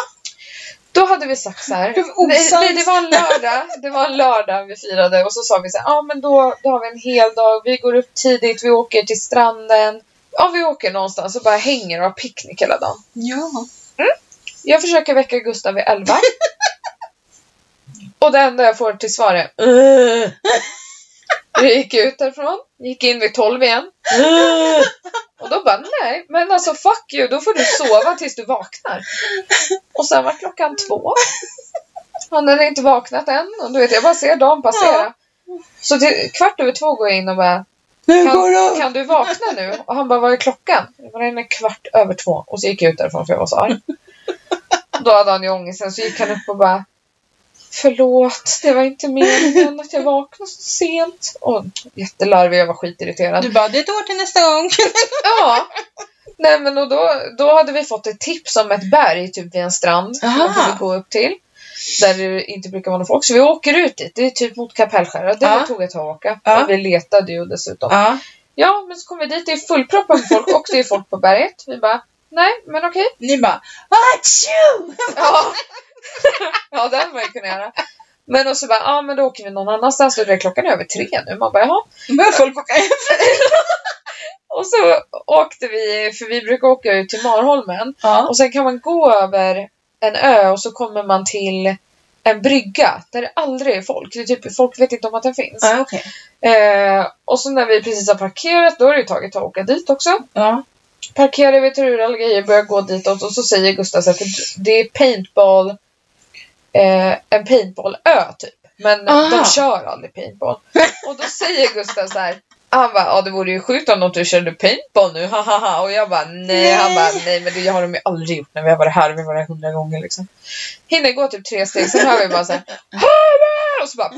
Speaker 1: Då hade vi sagt så här.
Speaker 2: Det var
Speaker 1: Nej,
Speaker 2: osams.
Speaker 1: nej, det var en lördag. Det var en lördag vi firade och så sa vi så här, ja ah, men då, då har vi en hel dag. Vi går upp tidigt, vi åker till stranden. Ja, vi åker någonstans och bara hänger och har picknick hela dagen.
Speaker 2: Ja.
Speaker 1: Jag försöker väcka Gustav vid 11. och det enda jag får till svar är "Ugh." Jag gick ut därifrån, gick in vid 12 igen. "Ugh." och då bara nej, men alltså fuck you, då får du sova tills du vaknar. Och sen var klockan två. Han hade inte vaknat än och du vet, jag bara ser dagen passera. Så till kvart över två går jag in och bara
Speaker 2: Nu går det
Speaker 1: kan,
Speaker 2: upp.
Speaker 1: kan du vakna nu? Och han bara, vad är klockan? Jag bara, den är kvart över två. Och så gick jag ut därifrån för jag var så arg. Då hade han ju ångest. Sen så gick han upp och bara, förlåt, det var inte meningen att jag vaknade så sent. Och jättelarvig, jag var skitirriterad.
Speaker 2: Du bara, det är ett år till nästa gång.
Speaker 1: Ja. Nej men och då, då hade vi fått ett tips om ett berg typ vid en strand. Som
Speaker 2: Aha.
Speaker 1: man kunde gå upp till. Där det inte brukar vara någon folk. Så vi åker ut dit. Det är typ mot Kapellskär. Det
Speaker 2: Ja.
Speaker 1: tog ett tag att åka.
Speaker 2: Ja.
Speaker 1: Och vi letade ju dessutom.
Speaker 2: Ja.
Speaker 1: Ja, men så kom vi dit, det är fullproppat med folk och det är folk på berget. Vi bara, nej, men okej.
Speaker 2: Ni bara, atjo!
Speaker 1: Ja. ja, det hade man ju kunnat göra. Men och så bara, ja men då åker vi någon annanstans. Och det är klockan är över tre nu. Man bara, jaha.
Speaker 2: Nu börjar folk åka hem.
Speaker 1: Och så åkte vi, för vi brukar åka ut till Marholmen.
Speaker 2: Ja.
Speaker 1: Och sen kan man gå över en ö och så kommer man till en brygga där det aldrig är folk. Det är typ, folk vet inte om att den finns.
Speaker 2: Ja, okej.
Speaker 1: Eh, och så när vi precis har parkerat, då är det ju taget att åka dit också.
Speaker 2: Ja.
Speaker 1: parkerar vid Turura och grejer, börjar gå ditåt och så säger Gustav så här, för det är paintball, eh, en paintballö typ. Men
Speaker 2: Aha.
Speaker 1: de kör aldrig paintball. Och då säger Gustav så här, han bara, ja det vore ju sjukt om de inte körde paintball nu, hahaha. Och jag bara, nej.
Speaker 2: Nej.
Speaker 1: Han bara, nej men det har de ju aldrig gjort när vi har varit här, vi har varit här hundra gånger liksom. Hinner gå typ tre steg, sen hör vi bara så här, "Hammer!" och så bara,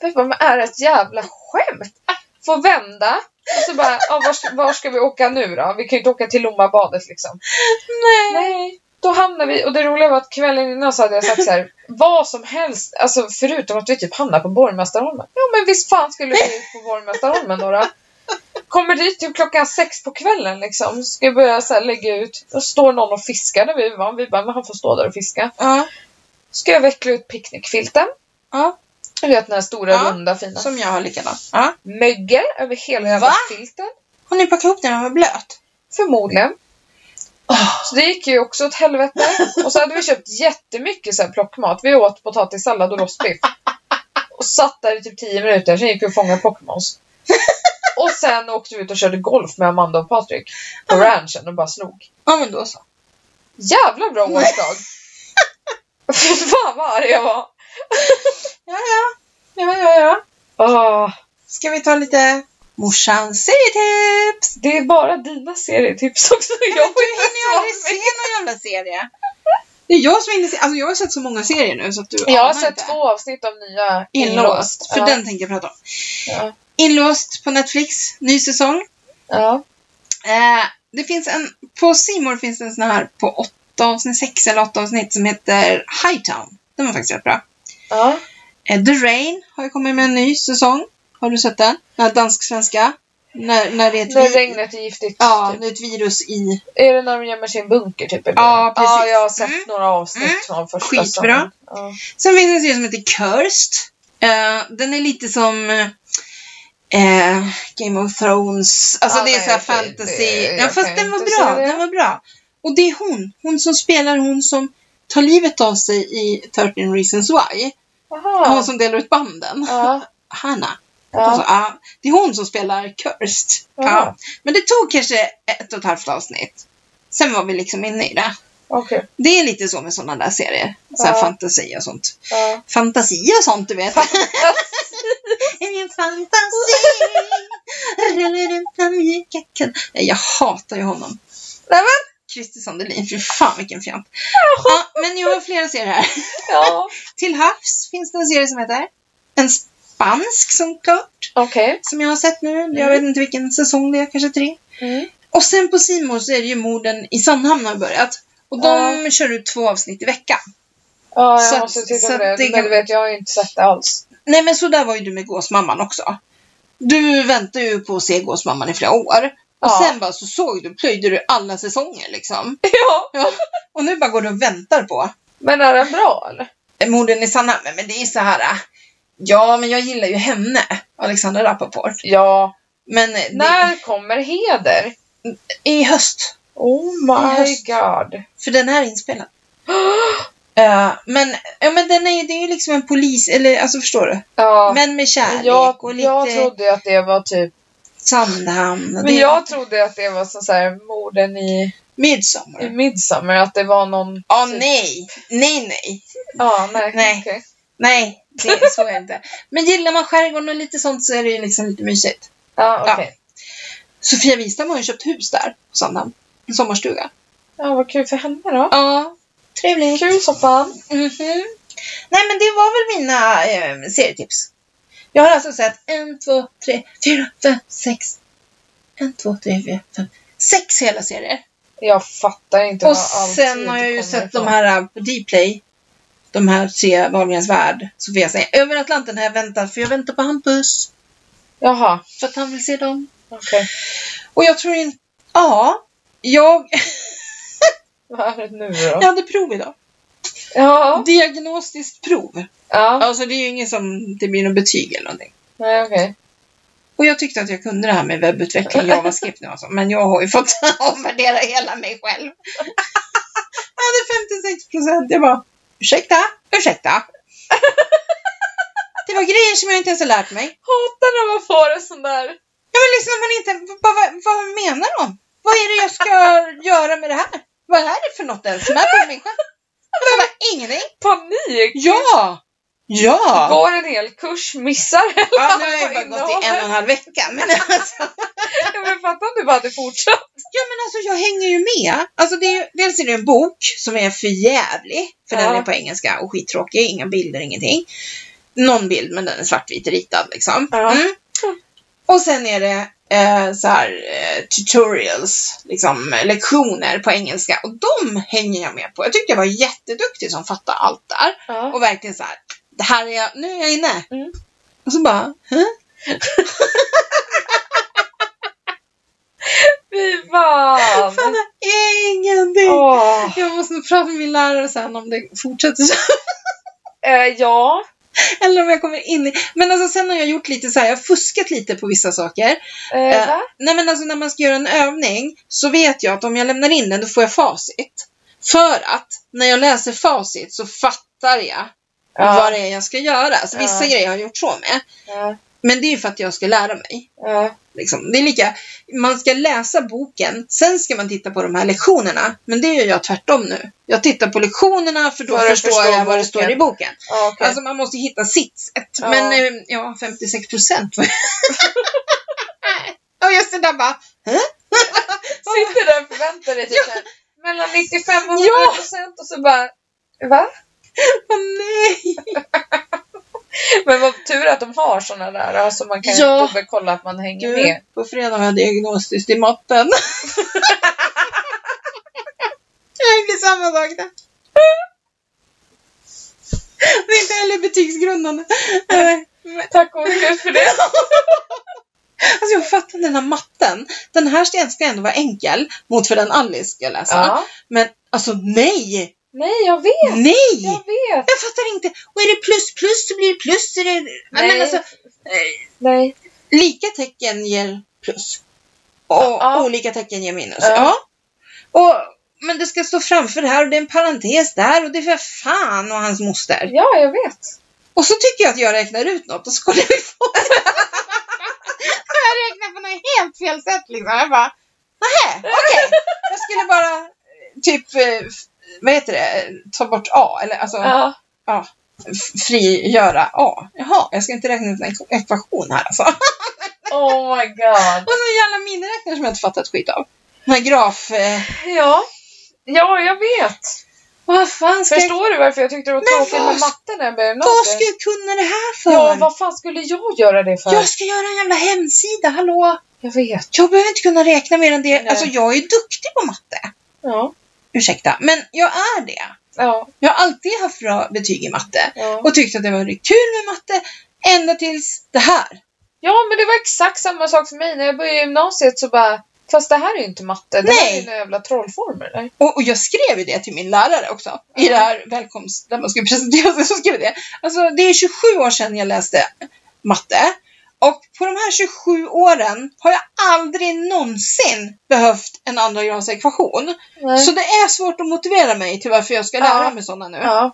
Speaker 1: jag bara, men är det ett jävla skämt? Får vända. Och så bara, ja, var, ska- var ska vi åka nu då? Vi kan ju inte åka till Lommabadet liksom.
Speaker 2: Nej.
Speaker 1: Nej. Då hamnar vi, och det roliga var att kvällen innan så hade jag sagt så här, vad som helst, alltså förutom att vi typ hamnar på Borgmästarholmen. Ja men visst fan skulle vi ut på Borgmästarholmen då, då? Kommer dit typ klockan sex på kvällen liksom. Ska börja så här lägga ut, och står någon och fiskar när vi var. Vi bara, men han får stå där och fiska.
Speaker 2: Ja.
Speaker 1: Ska jag veckla ut picknickfilten.
Speaker 2: Ja.
Speaker 1: Du vet den här stora
Speaker 2: Ja,
Speaker 1: runda fina
Speaker 2: Som jag har likadant. Ja.
Speaker 1: mögel över hela jävla
Speaker 2: Va?
Speaker 1: filten.
Speaker 2: Har ni packat ihop den? Den var blöt.
Speaker 1: Förmodligen.
Speaker 2: Oh.
Speaker 1: Så det gick ju också åt helvete. Och så hade vi köpt jättemycket så här plockmat. Vi åt potatissallad och rostbiff. Och satt där i typ 10 minuter, sen gick vi och fångade Pokémons. Och sen åkte vi ut och körde golf med Amanda och Patrik
Speaker 2: Ah.
Speaker 1: på ranchen och bara slog.
Speaker 2: Ja, men då så.
Speaker 1: Jävla bra årsdag! Fy fan vad arg jag var!
Speaker 2: Ja, ja. Ja, ja, ja.
Speaker 1: Åh,
Speaker 2: Ah. Ska vi ta lite morsans serietips?
Speaker 1: det är bara dina serietips också. Jag
Speaker 2: Du
Speaker 1: får inte
Speaker 2: hinner ju aldrig
Speaker 1: ens
Speaker 2: se någon jävla serie. Det är jag som inte ser. Alltså jag har sett så många serier nu så att du
Speaker 1: Jag har
Speaker 2: anar
Speaker 1: sett
Speaker 2: inte.
Speaker 1: två avsnitt av nya
Speaker 2: Inlåst. För
Speaker 1: Ja.
Speaker 2: den tänker jag prata om.
Speaker 1: Ja.
Speaker 2: Inlåst på Netflix. Ny säsong.
Speaker 1: Ja.
Speaker 2: Eh, det finns en, på Simor finns det en sån här på åtta avsnitt, sex eller åtta avsnitt som heter Hightown. Den var faktiskt rätt bra.
Speaker 1: ja.
Speaker 2: Eh, The Rain har ju kommit med en ny säsong. Har du sett den? Den här dansk-svenska. När, när det är ett,
Speaker 1: När
Speaker 2: vi-
Speaker 1: regnet är giftigt.
Speaker 2: ja,
Speaker 1: Typ.
Speaker 2: när det är ett virus i...
Speaker 1: Är det när de gömmer sig i en bunker typ? eller?
Speaker 2: Ja, precis.
Speaker 1: Ja, jag har sett
Speaker 2: Mm.
Speaker 1: några avsnitt från
Speaker 2: Mm.
Speaker 1: första
Speaker 2: Skitbra.
Speaker 1: säsongen. Ja.
Speaker 2: Sen finns det en serie som heter Cursed. Eh, den är lite som eh, Game of Thrones. Alltså
Speaker 1: Ja,
Speaker 2: det är
Speaker 1: nej,
Speaker 2: så här
Speaker 1: det-
Speaker 2: fantasy.
Speaker 1: det-
Speaker 2: ja,
Speaker 1: jag
Speaker 2: fast
Speaker 1: kan
Speaker 2: den var
Speaker 1: inte säga
Speaker 2: bra.
Speaker 1: det.
Speaker 2: Den var bra. Och det är hon. Hon som spelar hon som tar livet av sig i 13 Reasons Why.
Speaker 1: Jaha.
Speaker 2: Hon som delar ut banden.
Speaker 1: Ja.
Speaker 2: Hanna. Alltså,
Speaker 1: Ja.
Speaker 2: ja, det är hon som spelar Cursed.
Speaker 1: Jaha.
Speaker 2: Ja. Men det tog kanske ett och ett halvt avsnitt. Sen var vi liksom inne i det.
Speaker 1: Okej.
Speaker 2: Det är lite så med sådana där serier. Så här
Speaker 1: Ja.
Speaker 2: fantasi och sånt.
Speaker 1: Ja.
Speaker 2: Fantasi och sånt du vet. Min fantasi rullar runt den mjuka kan- Nej, Jag hatar ju honom.
Speaker 1: Nej men!
Speaker 2: Christer Sandelin, fy fan vilken fjant. Ja, men jag har flera serier här.
Speaker 1: Ja.
Speaker 2: Till havs finns det en serie som heter En spansk som klart.
Speaker 1: Okej.
Speaker 2: Som jag har sett nu. Jag vet inte vilken säsong det är, kanske tre.
Speaker 1: Mm.
Speaker 2: Och sen på Simon så är det ju morden i Sandhamn har börjat. Och de kör ut två avsnitt i veckan.
Speaker 1: Ja, jag
Speaker 2: Så att-
Speaker 1: måste titta
Speaker 2: så
Speaker 1: på
Speaker 2: att
Speaker 1: det.
Speaker 2: det
Speaker 1: Men
Speaker 2: kan-
Speaker 1: du vet, jag har ju inte sett det alls.
Speaker 2: Nej men så där var ju du med Gåsmamman också. Du väntade ju på att se Gåsmamman i flera år. Och
Speaker 1: Ja.
Speaker 2: sen bara så såg du, plöjde du alla säsonger liksom.
Speaker 1: Ja.
Speaker 2: Ja. Och nu bara går du och väntar på
Speaker 1: Men är den bra eller?
Speaker 2: morden i Sandhamn. Men det är så här. äh, Ja, men jag gillar ju henne, Alexandra Rappaport.
Speaker 1: Ja.
Speaker 2: Men eh, det,
Speaker 1: När kommer Heder?
Speaker 2: i höst,
Speaker 1: Oh my
Speaker 2: Just.
Speaker 1: god.
Speaker 2: för den här är inspelad. Eh, men, ja, men den är, det är ju liksom en polis, eller alltså förstår du?
Speaker 1: Ja.
Speaker 2: Män med kärlek
Speaker 1: jag,
Speaker 2: och
Speaker 1: jag
Speaker 2: lite
Speaker 1: trodde ju att det var typ...
Speaker 2: Sandhamn. och
Speaker 1: Men
Speaker 2: det-
Speaker 1: jag trodde att det var som så här morden i, i
Speaker 2: Midsommar.
Speaker 1: Midsommar. Att det var någon...
Speaker 2: Ja,
Speaker 1: typ-
Speaker 2: nej. Nej, nej.
Speaker 1: Ja, nej.
Speaker 2: Nej.
Speaker 1: okej.
Speaker 2: Nej, det, så är det inte. Men gillar man skärgården och lite sånt så är det ju liksom lite mysigt.
Speaker 1: Ja, okej.
Speaker 2: Sofia Wistam har ju köpt hus där på Sandhamn. En sommarstuga.
Speaker 1: Ja. vad kul för henne då.
Speaker 2: Ja, trevligt.
Speaker 1: Kul som fan.
Speaker 2: Mhm. Nej, men det var väl mina eh, serietips. Jag har alltså sett en, två, tre, fyra, fem, sex. En, två, tre, fyra, fem. Sex hela serier.
Speaker 1: Jag fattar inte
Speaker 2: Och
Speaker 1: var all tid
Speaker 2: sen har jag ju
Speaker 1: kommer
Speaker 2: sett
Speaker 1: ifrån.
Speaker 2: de här eh, på Dplay. De här tre, Wahlgrens värld, Sofia säger. Över Atlanten har jag väntat, för jag väntar på Hampus.
Speaker 1: Jaha,
Speaker 2: För att han vill se dem.
Speaker 1: okej.
Speaker 2: Och jag tror inte... Ja. Jag,
Speaker 1: Vad är det nu då?
Speaker 2: jag hade prov idag.
Speaker 1: Ja.
Speaker 2: Diagnostiskt prov.
Speaker 1: Ja.
Speaker 2: Alltså det är ju ingen som... Det blir något betyg eller någonting.
Speaker 1: Nej, okej.
Speaker 2: Och jag tyckte att jag kunde det här med webbutveckling, JavaScript nu alltså. Men jag har ju fått omvärdera hela mig själv. jag hade 56 procent. Jag bara, ursäkta, ursäkta. det var grejer som jag inte ens har lärt mig.
Speaker 1: Hatar när man får en sån där.
Speaker 2: Ja men liksom man inte, vad, vad, vad menar de? Vad är det jag ska göra med det här? Vad är det för något ens? Som är på människan? Jag bara, ingenting.
Speaker 1: Panik!
Speaker 2: Ja! Ja!
Speaker 1: Går en hel kurs, missar hela
Speaker 2: ja nu har jag ju bara
Speaker 1: innehållet.
Speaker 2: gått i en och en halv vecka. Men alltså,
Speaker 1: Ja, men fatta om du bara hade fortsatt.
Speaker 2: ja men alltså jag hänger ju med. Alltså det är, ju- dels är det en bok som är för jävlig. För den
Speaker 1: Ja.
Speaker 2: är på engelska och skittråkig. Inga bilder, ingenting. Någon bild men den är svartvit ritad liksom.
Speaker 1: Ja.
Speaker 2: Mm. Och sen är det eh, så här eh, tutorials, liksom eh, lektioner på engelska. Och de hänger jag med på. Jag tyckte jag var jätteduktig som fattade allt där.
Speaker 1: Ja.
Speaker 2: Och verkligen så här, det här är jag, nu är jag inne.
Speaker 1: Mm.
Speaker 2: Och så bara, Hä?
Speaker 1: Fy fan!
Speaker 2: fan ingenting.
Speaker 1: Åh.
Speaker 2: Jag måste nog prata med min lärare sen om det fortsätter så.
Speaker 1: Eh, ja.
Speaker 2: Eller om jag kommer in i... Men alltså sen har jag gjort lite så här, jag har fuskat lite på vissa saker.
Speaker 1: Eh,
Speaker 2: Eh,
Speaker 1: va?
Speaker 2: Nej men alltså när man ska göra en övning så vet jag att om jag lämnar in den då får jag facit. För att när jag läser facit så fattar jag vad det är jag ska göra. Så vissa
Speaker 1: Ja.
Speaker 2: grejer har jag gjort så med.
Speaker 1: Ja.
Speaker 2: Men det är ju för att jag ska lära mig.
Speaker 1: Ja.
Speaker 2: Liksom. Det är lika, man ska läsa boken, sen ska man titta på de här lektionerna. Men det gör jag tvärtom nu. Jag tittar på lektionerna för då
Speaker 1: För att
Speaker 2: förstår
Speaker 1: förstå
Speaker 2: jag vad det
Speaker 1: boken.
Speaker 2: står i boken.
Speaker 1: Ja, okej.
Speaker 2: Alltså man måste hitta sitt sätt.
Speaker 1: Ja.
Speaker 2: Men eh, ja, 56 procent. Och just det där bara,
Speaker 1: Sitter där och förväntar dig typ
Speaker 2: Ja.
Speaker 1: såhär, mellan 95 och 100
Speaker 2: Ja.
Speaker 1: procent och så bara Va?
Speaker 2: åh nej.
Speaker 1: Men vad tur att de har såna där ja, så man kan
Speaker 2: Ja.
Speaker 1: dubbelkolla att man hänger
Speaker 2: Gud,
Speaker 1: med.
Speaker 2: på fredag har jag diagnostiskt i matten. det blir samma sak där. Det är inte heller betygsgrundande. Eh,
Speaker 1: Tack och gud för det.
Speaker 2: Alltså jag fattar den här matten. Den här ska ska ändå vara enkel mot för den Alice ska läsa.
Speaker 1: Ja.
Speaker 2: Men alltså nej!
Speaker 1: Nej, jag vet.
Speaker 2: Nej!
Speaker 1: Jag vet.
Speaker 2: Jag fattar inte. Och är det plus plus så blir det plus. Är det... Nej. Men
Speaker 1: Nej.
Speaker 2: alltså,
Speaker 1: Nej.
Speaker 2: lika tecken ger plus. Och
Speaker 1: Ja.
Speaker 2: olika tecken ger minus.
Speaker 1: Ja.
Speaker 2: Ja. Och, men det ska stå framför här och det är en parentes där och det är för fan och hans moster.
Speaker 1: Ja, jag vet.
Speaker 2: Och så tycker jag att jag räknar ut något och så kollar vi på det. jag räknar på något helt fel sätt liksom. Jag bara, nej, okej. Jag skulle bara eh, typ, eh, f- vad heter det, ta bort A eller alltså
Speaker 1: Ja.
Speaker 2: f- frigöra A. Jaha, jag ska inte räkna ut en ek- ekvation här alltså.
Speaker 1: Oh my god.
Speaker 2: Och så jävla miniräknare som jag inte fattat skit av. Den här graf... Eh,
Speaker 1: Ja. Ja, jag vet.
Speaker 2: vad fan ska
Speaker 1: Förstår du varför jag tyckte det var
Speaker 2: Men
Speaker 1: tråkigt
Speaker 2: vad-
Speaker 1: med matte när jag började
Speaker 2: jag... Vad ska
Speaker 1: gymnasiet?
Speaker 2: jag kunna det här för?
Speaker 1: Ja, vad fan skulle jag göra det för?
Speaker 2: Jag ska göra en jävla hemsida, hallå!
Speaker 1: Jag vet.
Speaker 2: Jag behöver inte kunna räkna mer än det.
Speaker 1: Nej.
Speaker 2: Alltså, jag är duktig på matte.
Speaker 1: Ja.
Speaker 2: Ursäkta, men jag är det.
Speaker 1: Ja.
Speaker 2: Jag har alltid haft bra betyg i matte
Speaker 1: Ja.
Speaker 2: och tyckt att det var väldigt kul med matte ända tills det här.
Speaker 1: ja, men det var exakt samma sak för mig. När jag började gymnasiet så bara, fast det här är ju inte matte. Det här är
Speaker 2: Nej.
Speaker 1: ju några jävla trollformler. eller?
Speaker 2: Och, och jag skrev ju det till min lärare också. I det här välkomst, där man skulle presentera sig, så skrev jag det. Alltså det är 27 år sedan jag läste matte. Och på de här 27 åren har jag aldrig någonsin behövt en andra grads ekvation.
Speaker 1: Nej.
Speaker 2: Så det är svårt att motivera mig till varför jag ska lära
Speaker 1: Ja.
Speaker 2: mig sådana nu.
Speaker 1: Ja,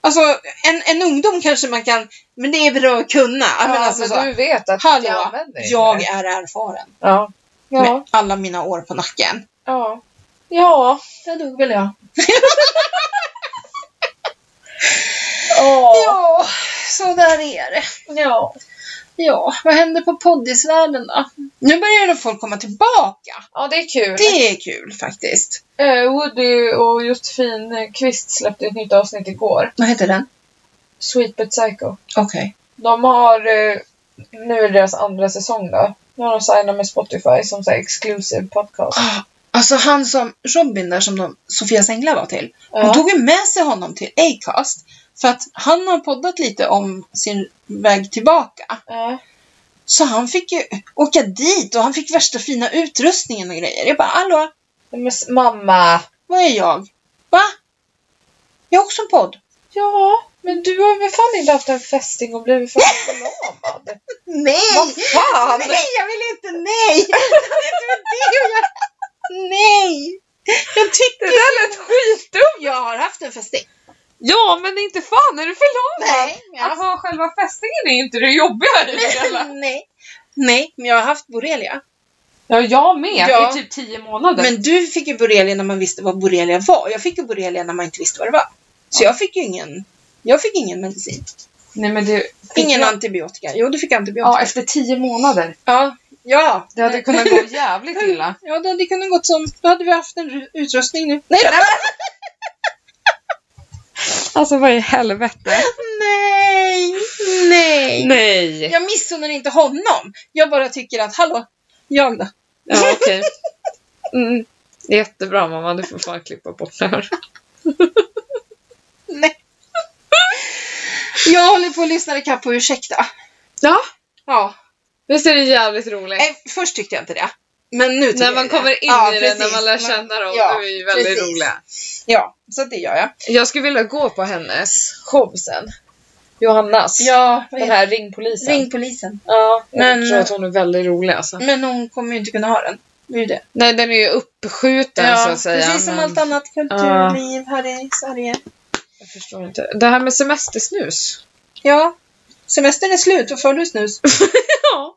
Speaker 2: Alltså en, en ungdom kanske man kan, men det är bra att kunna. Ja,
Speaker 1: ja
Speaker 2: men alltså,
Speaker 1: men
Speaker 2: så,
Speaker 1: du vet att
Speaker 2: hallå,
Speaker 1: jag använder inte
Speaker 2: jag
Speaker 1: det.
Speaker 2: är erfaren.
Speaker 1: Ja. Ja.
Speaker 2: Med alla mina år på nacken.
Speaker 1: Ja. Ja.
Speaker 2: Där dog väl jag.
Speaker 1: Ja.
Speaker 2: Ja, så där är det.
Speaker 1: Ja.
Speaker 2: Ja, vad händer på poddisvärlden då? Nu börjar nog folk komma tillbaka.
Speaker 1: Ja, det är kul.
Speaker 2: Det är kul faktiskt.
Speaker 1: Eh, Woody och Josefin eh, Kvist släppte ett nytt avsnitt igår.
Speaker 2: Vad heter den?
Speaker 1: Sweet But Psycho.
Speaker 2: Okej.
Speaker 1: De har, eh, nu är det deras andra säsong då. Nu har de signat med Spotify som så här exclusive podcast.
Speaker 2: Ah, Alltså han som Robin där som de, Sofia Sängla var till. Hon
Speaker 1: Ja.
Speaker 2: tog ju med sig honom till Acast. För att han har poddat lite om sin väg tillbaka.
Speaker 1: Ja.
Speaker 2: Så han fick ju åka dit och han fick värsta fina utrustningen och grejer. Jag bara, hallå,
Speaker 1: Men s- mamma!
Speaker 2: vad är jag? Va? Jag har också en podd.
Speaker 1: Ja, men du har väl fan inte haft en fästing och blivit fan förlamad?
Speaker 2: Nej!
Speaker 1: Vad fan!
Speaker 2: Nej, jag vill inte! Nej! Det är inte med det att göra. Nej! Jag
Speaker 1: Det
Speaker 2: tycker...
Speaker 1: där lät skitdumt!
Speaker 2: Jag har haft en fästing.
Speaker 1: Ja, men inte fan är du förlamad!
Speaker 2: Nej, men jag
Speaker 1: Att
Speaker 2: har
Speaker 1: ha själva fästingen är inte det jobbiga
Speaker 2: haft... Nej. Nej, men jag har haft borrelia.
Speaker 1: Ja, jag med!
Speaker 2: Ja.
Speaker 1: I typ tio månader.
Speaker 2: Men du fick ju borrelia när man visste vad borrelia var. Jag fick ju borrelia när man inte visste vad det var. Så jag fick ju ingen... Jag fick ingen medicin.
Speaker 1: Nej, men det...
Speaker 2: Ingen
Speaker 1: jag...
Speaker 2: antibiotika. Jo, du fick
Speaker 1: Ja,
Speaker 2: antibiotika.
Speaker 1: efter tio månader.
Speaker 2: Ja. Ja.
Speaker 1: Det hade kunnat gå jävligt illa.
Speaker 2: Ja, det hade kunnat gått som... Då hade vi haft en ru- utrustning nu. Nej då!
Speaker 1: Alltså vad i helvete?
Speaker 2: Nej! Nej!
Speaker 1: Nej!
Speaker 2: Jag missunnar inte honom. Jag bara tycker att, hallå, jag då?
Speaker 1: Ja, okej. Mm. Jättebra mamma, du får fan klippa bort det här.
Speaker 2: Nej. Jag håller på att lyssna ikapp på ursäkta.
Speaker 1: Ja,
Speaker 2: Ja.
Speaker 1: visst är det jävligt roligt?
Speaker 2: Nej, först tyckte jag inte det. Men nu tycker
Speaker 1: När
Speaker 2: jag
Speaker 1: man
Speaker 2: det.
Speaker 1: kommer in
Speaker 2: Ja,
Speaker 1: i det,
Speaker 2: precis.
Speaker 1: när Eh, man lär känna dem,
Speaker 2: Ja,
Speaker 1: de är ju väldigt
Speaker 2: precis.
Speaker 1: roliga.
Speaker 2: Ja, så det gör jag.
Speaker 1: Jag skulle vilja gå på hennes show sen. Johannas.
Speaker 2: Ja,
Speaker 1: Den här ringpolisen.
Speaker 2: ring polisen.
Speaker 1: Ja, jag
Speaker 2: Men-
Speaker 1: tror att hon är väldigt rolig alltså.
Speaker 2: Men hon kommer ju inte kunna ha den. Det är ju det.
Speaker 1: Nej, den är ju uppskjuten så att säga.
Speaker 2: precis som
Speaker 1: men
Speaker 2: allt annat kulturliv här i Sverige.
Speaker 1: Jag förstår inte. Det här med semestersnus.
Speaker 2: Ja. Semestern är slut, och får du snus?
Speaker 1: Ja.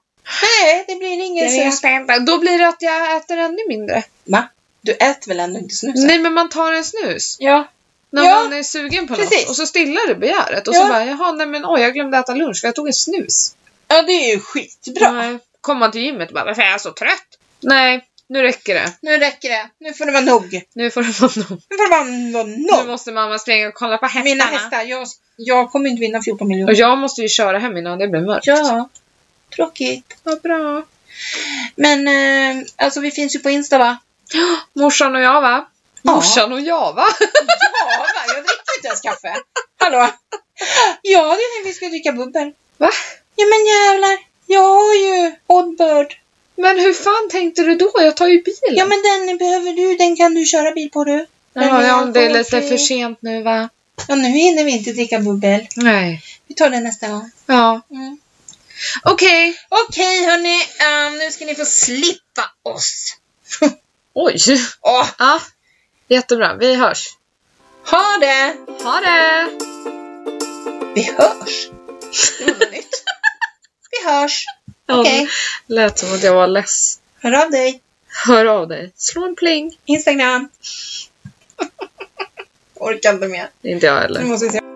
Speaker 2: Nej, det blir ingen snus.
Speaker 1: Då blir det att jag äter ännu mindre.
Speaker 2: Va? Du äter väl ändå inte snus?
Speaker 1: Nej, men man tar en snus.
Speaker 2: Ja.
Speaker 1: När
Speaker 2: Ja,
Speaker 1: man är sugen på
Speaker 2: precis.
Speaker 1: något. Och så stillar det begäret. Och
Speaker 2: Ja.
Speaker 1: så bara, jaha, nej men oj, jag glömde äta lunch för jag tog en snus.
Speaker 2: Ja, det är ju skitbra.
Speaker 1: Nej. Kom man till gymmet och bara, varför är jag så trött? Nej, nu räcker det.
Speaker 2: Nu räcker det. Nu får det vara nog.
Speaker 1: Nu får det vara nog.
Speaker 2: Nu får det vara
Speaker 1: Nu
Speaker 2: nog.
Speaker 1: måste mamma springa och kolla på hästarna.
Speaker 2: Mina hästar, jag, jag kommer inte vinna 14
Speaker 1: Och
Speaker 2: miljoner.
Speaker 1: jag måste ju köra hem innan det blir mörkt.
Speaker 2: Ja, tråkigt.
Speaker 1: Vad bra.
Speaker 2: Men eh, alltså vi finns ju på Insta va?
Speaker 1: Morsan och jag va?
Speaker 2: Ja.
Speaker 1: Morsan och jag va?
Speaker 2: Ja, va? jag dricker ju inte ens kaffe. Hallå? Ja, det är när vi ska dricka bubbel.
Speaker 1: Va?
Speaker 2: Ja men jävlar, jag har ju Oddbird.
Speaker 1: Men hur fan tänkte du då? Jag tar ju bilen.
Speaker 2: Ja men den behöver du, den kan du köra bil på du.
Speaker 1: ja,
Speaker 2: Den
Speaker 1: ja, det är
Speaker 2: alkoholfri.
Speaker 1: lite för sent nu va?
Speaker 2: Ja, nu hinner vi inte dricka bubbel.
Speaker 1: Nej.
Speaker 2: Vi tar det nästa gång.
Speaker 1: Ja.
Speaker 2: Mm.
Speaker 1: Okej.
Speaker 2: Okej hörni, ehm, nu ska ni få slippa oss.
Speaker 1: Oj.
Speaker 2: Åh,
Speaker 1: Ja. Jättebra. Vi hörs.
Speaker 2: ha det!
Speaker 1: Ha det!
Speaker 2: Vi hörs! Det var något nytt. Vi hörs! Okej.
Speaker 1: Ja, det lät som att jag var less.
Speaker 2: Hör av dig.
Speaker 1: Hör av dig. Slå en pling.
Speaker 2: Instagram. Orkar inte mer.
Speaker 1: Inte jag
Speaker 2: Nu
Speaker 1: heller.
Speaker 2: måste vi se.